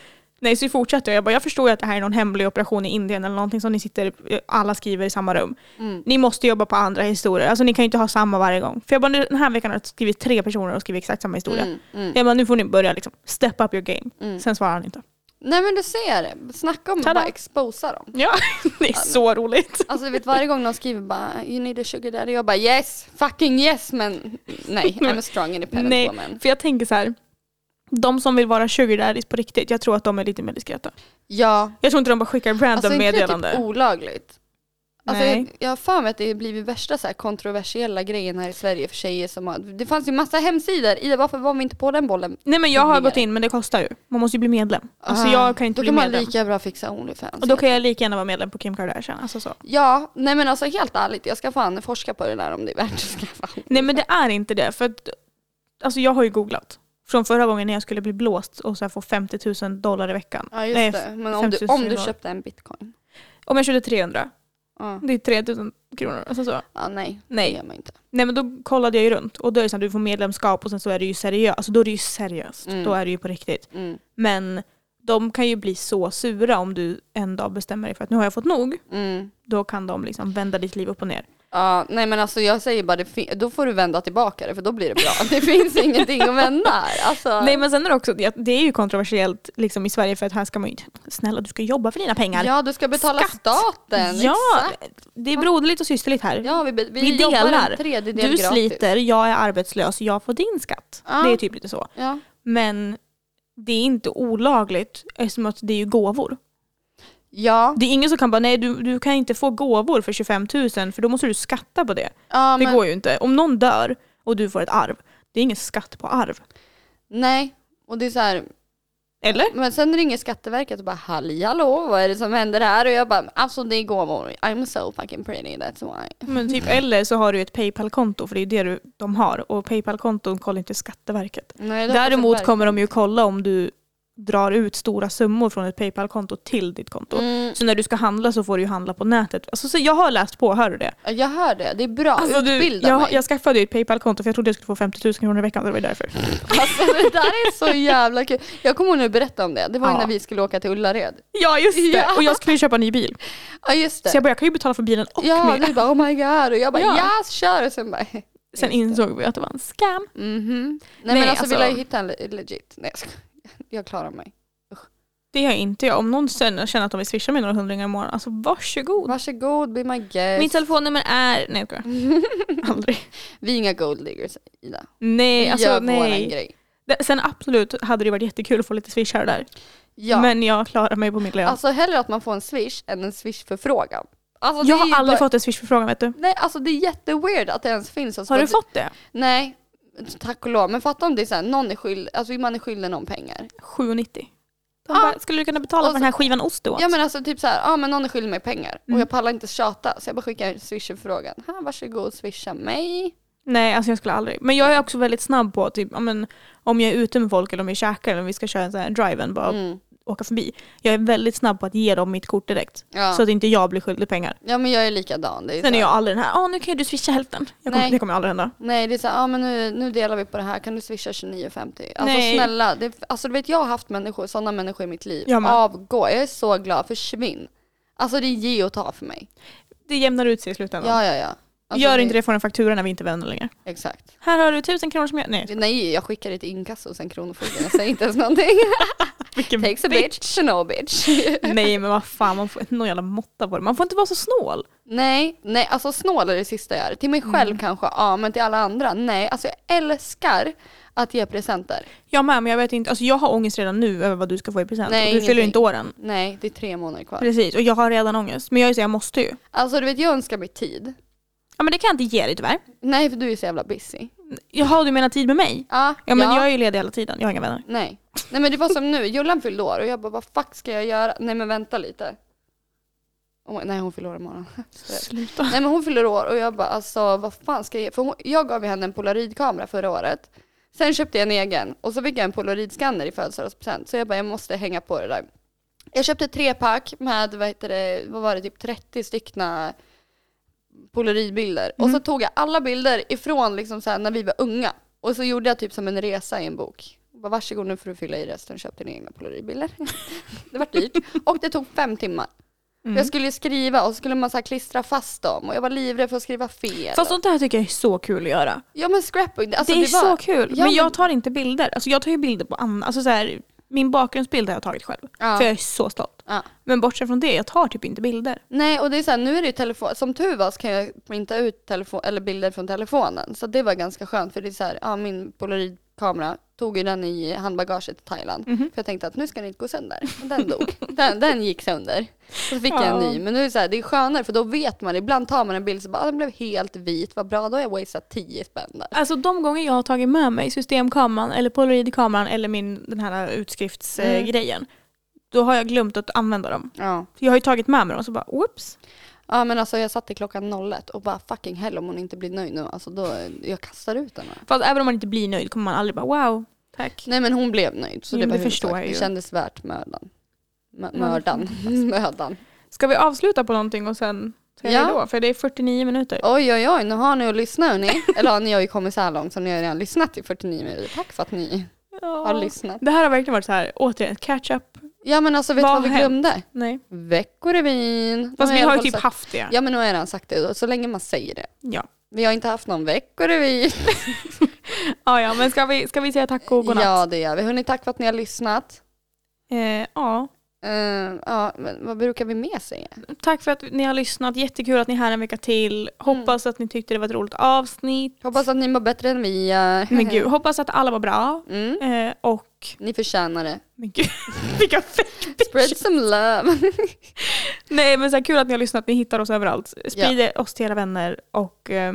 B: Nej så fortsätter jag, jag bara jag förstår ju att det här är någon hemlig operation i Indien eller någonting som ni sitter, alla skriver i samma rum.
A: Mm.
B: Ni måste jobba på andra historier, alltså ni kan ju inte ha samma varje gång. För jag bara nu- den här veckan har jag skrivit tre personer och skrivit exakt samma historia.
A: Mm, mm,
B: Jag bara nu får ni börja liksom, step up your game.
A: mm.
B: Sen svarar han inte.
A: Nej men du ser, snacka om att
B: Tada.
A: bara exposa dem.
B: Ja, det är så roligt.
A: Alltså du vet varje gång någon skriver bara you need a sugar daddy, jag bara yes, fucking yes men nej, I'm a strong independent
B: Nej.
A: woman.
B: För jag tänker så här. De som vill vara sugar daddies på riktigt, jag tror att de är lite mer diskreta.
A: Ja,
B: Jag tror inte de bara skickar random
A: Alltså inte det
B: meddelande.
A: typ olagligt? Alltså,
B: Nej.
A: jag, jag har för mig att det har blivit värsta så här kontroversiella grejen här i Sverige för tjejer som har, det fanns ju massa hemsidor, Ida varför var vi inte på den bollen?
B: Nej men jag har
A: Mer.
B: gått in men det kostar ju. Man måste ju bli medlem. Alltså jag kan ju inte
A: Ah. Då
B: bli
A: kan man
B: medlem.
A: lika bra fixa Onlyfans.
B: Och då kan jag lika gärna vara medlem på Kim Kardashian. Alltså så.
A: Ja, nej men alltså helt ärligt, jag ska fan forska på det där om det är värt att skaffa.
B: Nej men det är inte det. För att, alltså jag har ju googlat. Från förra gången när jag skulle bli blåst och så här få 50 000 dollar i veckan.
A: Ja just
B: Nej,
A: det, men om du,
B: 5000
A: om du
B: dollar.
A: köpte en bitcoin.
B: Om jag köpte 300,
A: Ja,
B: det är 3 000 kronor. Alltså så.
A: ja nej, det
B: Nej.
A: gör man inte.
B: Nej men då kollade jag ju runt och då är det så här, du får medlemskap och sen så är det ju seriöst. Alltså då är det ju seriöst.
A: Mm.
B: Då är det ju på riktigt.
A: Mm.
B: Men de kan ju bli så sura om du en dag bestämmer dig för att nu har jag fått nog.
A: Mm.
B: Då kan de liksom vända ditt liv upp och ner.
A: Ja, nej men alltså jag säger bara, det fin- då får du vända tillbaka det för då blir det bra. Det finns ingenting att vända här. Alltså,
B: Nej men sen är det också, det det är ju kontroversiellt liksom, i Sverige för att här ska man ju, snälla du ska jobba för dina pengar.
A: ja, du ska betala
B: Skatt.
A: staten.
B: Ja,
A: exakt.
B: det är broderligt och systerligt här.
A: ja vi, be- vi,
B: vi
A: jobbar
B: delar.
A: en tredjedel
B: du
A: gratis.
B: sliter, jag är arbetslös, jag får din skatt.
A: Ja.
B: Det är typ lite så.
A: Ja.
B: Men det är inte olagligt eftersom att det är ju gåvor.
A: Ja,
B: Det är ingen som kan bara, nej du, du kan inte få gåvor för 25 000 för då måste du skatta på det.
A: ja
B: det
A: men,
B: går ju inte. Om någon dör och du får ett arv, det är ingen skatt på arv.
A: nej. Och det är så här,
B: Eller?
A: men sen ringer Skatteverket och bara halli hallå, vad är det som händer här? Och jag bara, alltså det är gåvor. I'm so fucking pretty, that's why.
B: Men typ, eller så har du ett Paypal-konto för det är ju det du, de har och Paypal-konton kollar inte Skatteverket.
A: Nej, det hoppas jag
B: Däremot
A: verkligen.
B: kommer de ju kolla om du drar ut stora summor från ett Paypal-konto till ditt konto.
A: Mm,
B: Så när du ska handla så får du ju handla på nätet. Alltså, så jag har läst på, hör du det?
A: jag hör det, det är bra.
B: Alltså, du,
A: Utbilda
B: jag,
A: mig.
B: jag skaffade ju ett Paypal-konto för jag trodde jag skulle få 50 000 kronor i veckan, så det var därför.
A: Alltså det där är så jävla kul. Jag kommer ihåg när du berättade om det. Det var ju
B: Ja.
A: när vi skulle åka till Ullared.
B: Ja just det!
A: Ja.
B: Och jag skulle ju köpa en ny bil.
A: Ja just det.
B: Så jag bara, jag kan ju betala för bilen och
A: ja,
B: mer.
A: du bara oh my god och jag bara
B: Ja.
A: yes kör och sen bara
B: Sen insåg vi att det var en scam.
A: mhm. Nej,
B: Nej,
A: men alltså,
B: alltså-
A: vi lär ju hitta en le- legit. Nej jag skojar. Jag klarar mig.
B: Det gör inte jag. Om någon sen känner att de vill swisha mig några hundringar i morgon, alltså varsågod.
A: Varsågod be my guest.
B: Min telefonnummer är... Nej jag skojar. Aldrig.
A: Vi är inga gold diggers Ida. Vi
B: Nej, alltså
A: gör våran
B: nej.
A: grej.
B: Det- Sen absolut hade det varit jättekul att få lite swishar där.
A: Ja.
B: Men jag klarar mig på min lön.
A: Alltså hellre att man får en swish än en swish-förfrågan. Alltså, det
B: jag
A: är ju
B: har aldrig
A: bara-
B: fått en swishförfrågan vet du.
A: Nej alltså det är jätteweird att det ens finns. Alltså,
B: Har du
A: att-
B: fått det?
A: Nej. Tack och lov. Men fatta om det är såhär, någon är skyldig, alltså man är skyldig någon pengar.
B: 7,90. De
A: Ja.
B: bara, skulle du kunna betala
A: Och
B: för den här skivan ost du åt?
A: Ja men alltså typ såhär, ja ah, men någon är skyldig mig pengar
B: Mm.
A: och jag pallar inte tjata så jag bara skickar en swish-förfrågan. Här, Varsågod swisha mig.
B: Nej, alltså jag skulle aldrig. Men jag är också väldigt snabb på typ, ja, men, om jag är ute med folk eller om vi käkar eller om vi ska köra en sån här drive-in, bara
A: Mm.
B: åka förbi. Jag är väldigt snabb på att ge dem mitt kort direkt.
A: Ja.
B: Så att inte jag blir skyldig pengar.
A: ja men jag är likadan. Det är
B: Sen är
A: såhär-
B: jag aldrig den här, ja nu kan ju du swisha hälften. Jag kommer,
A: Nej.
B: det kommer aldrig hända.
A: Nej det är såhär, ja ah, men nu, nu delar vi på det här, kan du swisha 29,50? Alltså
B: Nej.
A: snälla, det, alltså du vet jag har haft människor, sådana människor i mitt liv.
B: Jag med.
A: Avgå, jag är så glad, försvinn. Alltså det är ge och ta för mig.
B: Det jämnar ut sig i slutändan.
A: Ja ja ja. Alltså,
B: Gör inte det får en faktura när vi inte är vänner längre.
A: Exakt.
B: Här har du tusen kronor som jag... Nej,
A: Nej jag skickar det till inkasso och sen Kronofogden, jag säger inte ens någonting.
B: vilken
A: Takes a bitch to no bitch.
B: Nej men vad fan, man får någon jävla måtta på det. Man får inte vara så snål.
A: Nej, nej, alltså snål är det sista jag är. Till mig
B: Mm.
A: själv kanske, ja, men till alla andra, nej. Alltså jag älskar att ge presenter.
B: Jag med, men jag vet inte. Alltså jag har ångest redan nu över vad du ska få i present.
A: Nej,
B: och du fyller ju
A: ingenting.
B: inte åren.
A: Nej, det är tre månader kvar.
B: Precis, och jag har redan ångest. Men jag är så, jag måste ju.
A: Alltså du vet, jag önskar mig tid.
B: Ja men det kan jag inte ge dig tyvärr.
A: Nej, för du är så jävla busy.
B: Jaha, du menar tid med mig?
A: Ja,
B: Ja men jag är ju ledig hela tiden, jag har inga vänner.
A: Nej. nej, men det var som nu, Jullan fyllde år och jag bara, vad fuck ska jag göra? Nej, men vänta lite. Oh, nej, hon fyller år imorgon.
B: Sluta.
A: Nej men hon fyller år och jag bara alltså vad fan ska jag ge? För hon, jag gav ju henne en polaroidkamera förra året. Sen köpte jag en egen och så fick jag en polaroidskanner i födelsedagspresent. Så jag bara jag måste hänga på det där. Jag köpte tre pack med vad heter det, vad var det, typ 30 styckna polaroidbilder. Och
B: Mm.
A: så tog jag alla bilder ifrån liksom så här, när vi var unga. Och så gjorde jag typ som en resa i en bok. Jag Bara, Varsågod nu får du fylla i resten, köp dina egna polaroidbilder. det var dyrt. Och det tog fem timmar.
B: Mm.
A: För Jag skulle ju skriva och så skulle man så här klistra fast dem och jag var livrädd för att skriva fel.
B: Fast sånt här tycker jag är så kul att göra.
A: ja men scrapbook, alltså
B: det är
A: var,
B: så kul.
A: Ja,
B: men
A: men-
B: jag tar inte bilder. Alltså jag tar ju bilder på andra. Alltså så här, min bakgrundsbild har jag tagit själv.
A: Ja.
B: För jag är så stolt.
A: Ja.
B: Men bortsett från det, jag tar typ inte bilder.
A: Nej och det är så här, nu är det ju telefon, som tur var så kan jag printa ut telefon, eller bilder från telefonen. Så det var ganska skönt för det är så här, ja min polaroidkamera tog ju den i handbagaget till Thailand. För jag tänkte att nu ska den inte gå sönder. Men Den dog. den, den gick sönder. Och så fick jag en
B: Ja.
A: ny. Men nu är det så här, det är skönare för då vet man, ibland tar man en bild så bara, ah, den blev helt vit, vad bra, då har jag wasteat 10 spänn där.
B: Alltså de gånger jag har tagit med mig systemkameran eller polaroidkameran eller min, den här utskriftsgrejen.
A: Mm.
B: grejen då har jag glömt att använda dem.
A: Ja.
B: För Jag har ju tagit med mig dem så bara whoops.
A: Ja men alltså jag satt till klockan 01 och bara fucking hell om hon inte blir nöjd nu. Alltså då, jag kastar ut henne.
B: Fast även om man inte blir nöjd kommer man aldrig bara wow, tack.
A: Nej men hon blev nöjd så
B: Jo,
A: det,
B: men
A: var
B: det förstår
A: huvudsaken.
B: jag ju.
A: Det kändes värt mödan. Mö-
B: Ja, det
A: Mördan. Mödan.
B: Ska vi avsluta på någonting och sen säga
A: Ja.
B: ja. då? För det är 49 minuter.
A: Oj oj oj, nu har ni att lyssna hörni. Eller ja, ni har ju kommit så här långt så ni har redan lyssnat i 49 minuter. Tack för att ni har lyssnat.
B: Det här har verkligen varit så här, återigen, catch up
A: Ja men alltså vet du
B: Vad
A: vad vi
B: har hänt?
A: glömde?
B: Nej.
A: Veckorevyn.
B: Fast
A: Nu
B: vi
A: i alla
B: har ju
A: fall
B: typ
A: sagt-
B: haft det.
A: Ja men nu har jag redan sagt det, så länge man säger det.
B: Ja.
A: Vi har inte haft någon veckorevy.
B: Ja, ja, men ska vi, ska vi säga tack och godnatt?
A: Ja det gör vi. Hörni, tack för att ni har lyssnat.
B: Eh, ja.
A: Eh, ja, men vad brukar vi mer säga?
B: Tack för att ni har lyssnat. Jättekul att ni är här en vecka till. Hoppas att ni tyckte det var ett roligt avsnitt.
A: Hoppas att ni mår bättre än vi är.
B: Men gud, hoppas att alla var bra.
A: Mm,
B: Eh, och,
A: ni förtjänar det.
B: men gud, vilka fett.
A: Spread some love.
B: Nej men så här, kul att ni har lyssnat, ni hittar oss överallt. Sprid oss till era vänner och eh,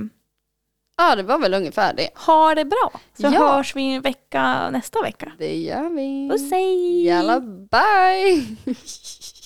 A: ja det var väl ungefär det.
B: ha det bra. Så
A: Ja.
B: hörs vi en vecka nästa vecka.
A: Det gör vi.
B: Puss hej!
A: Jalla bye!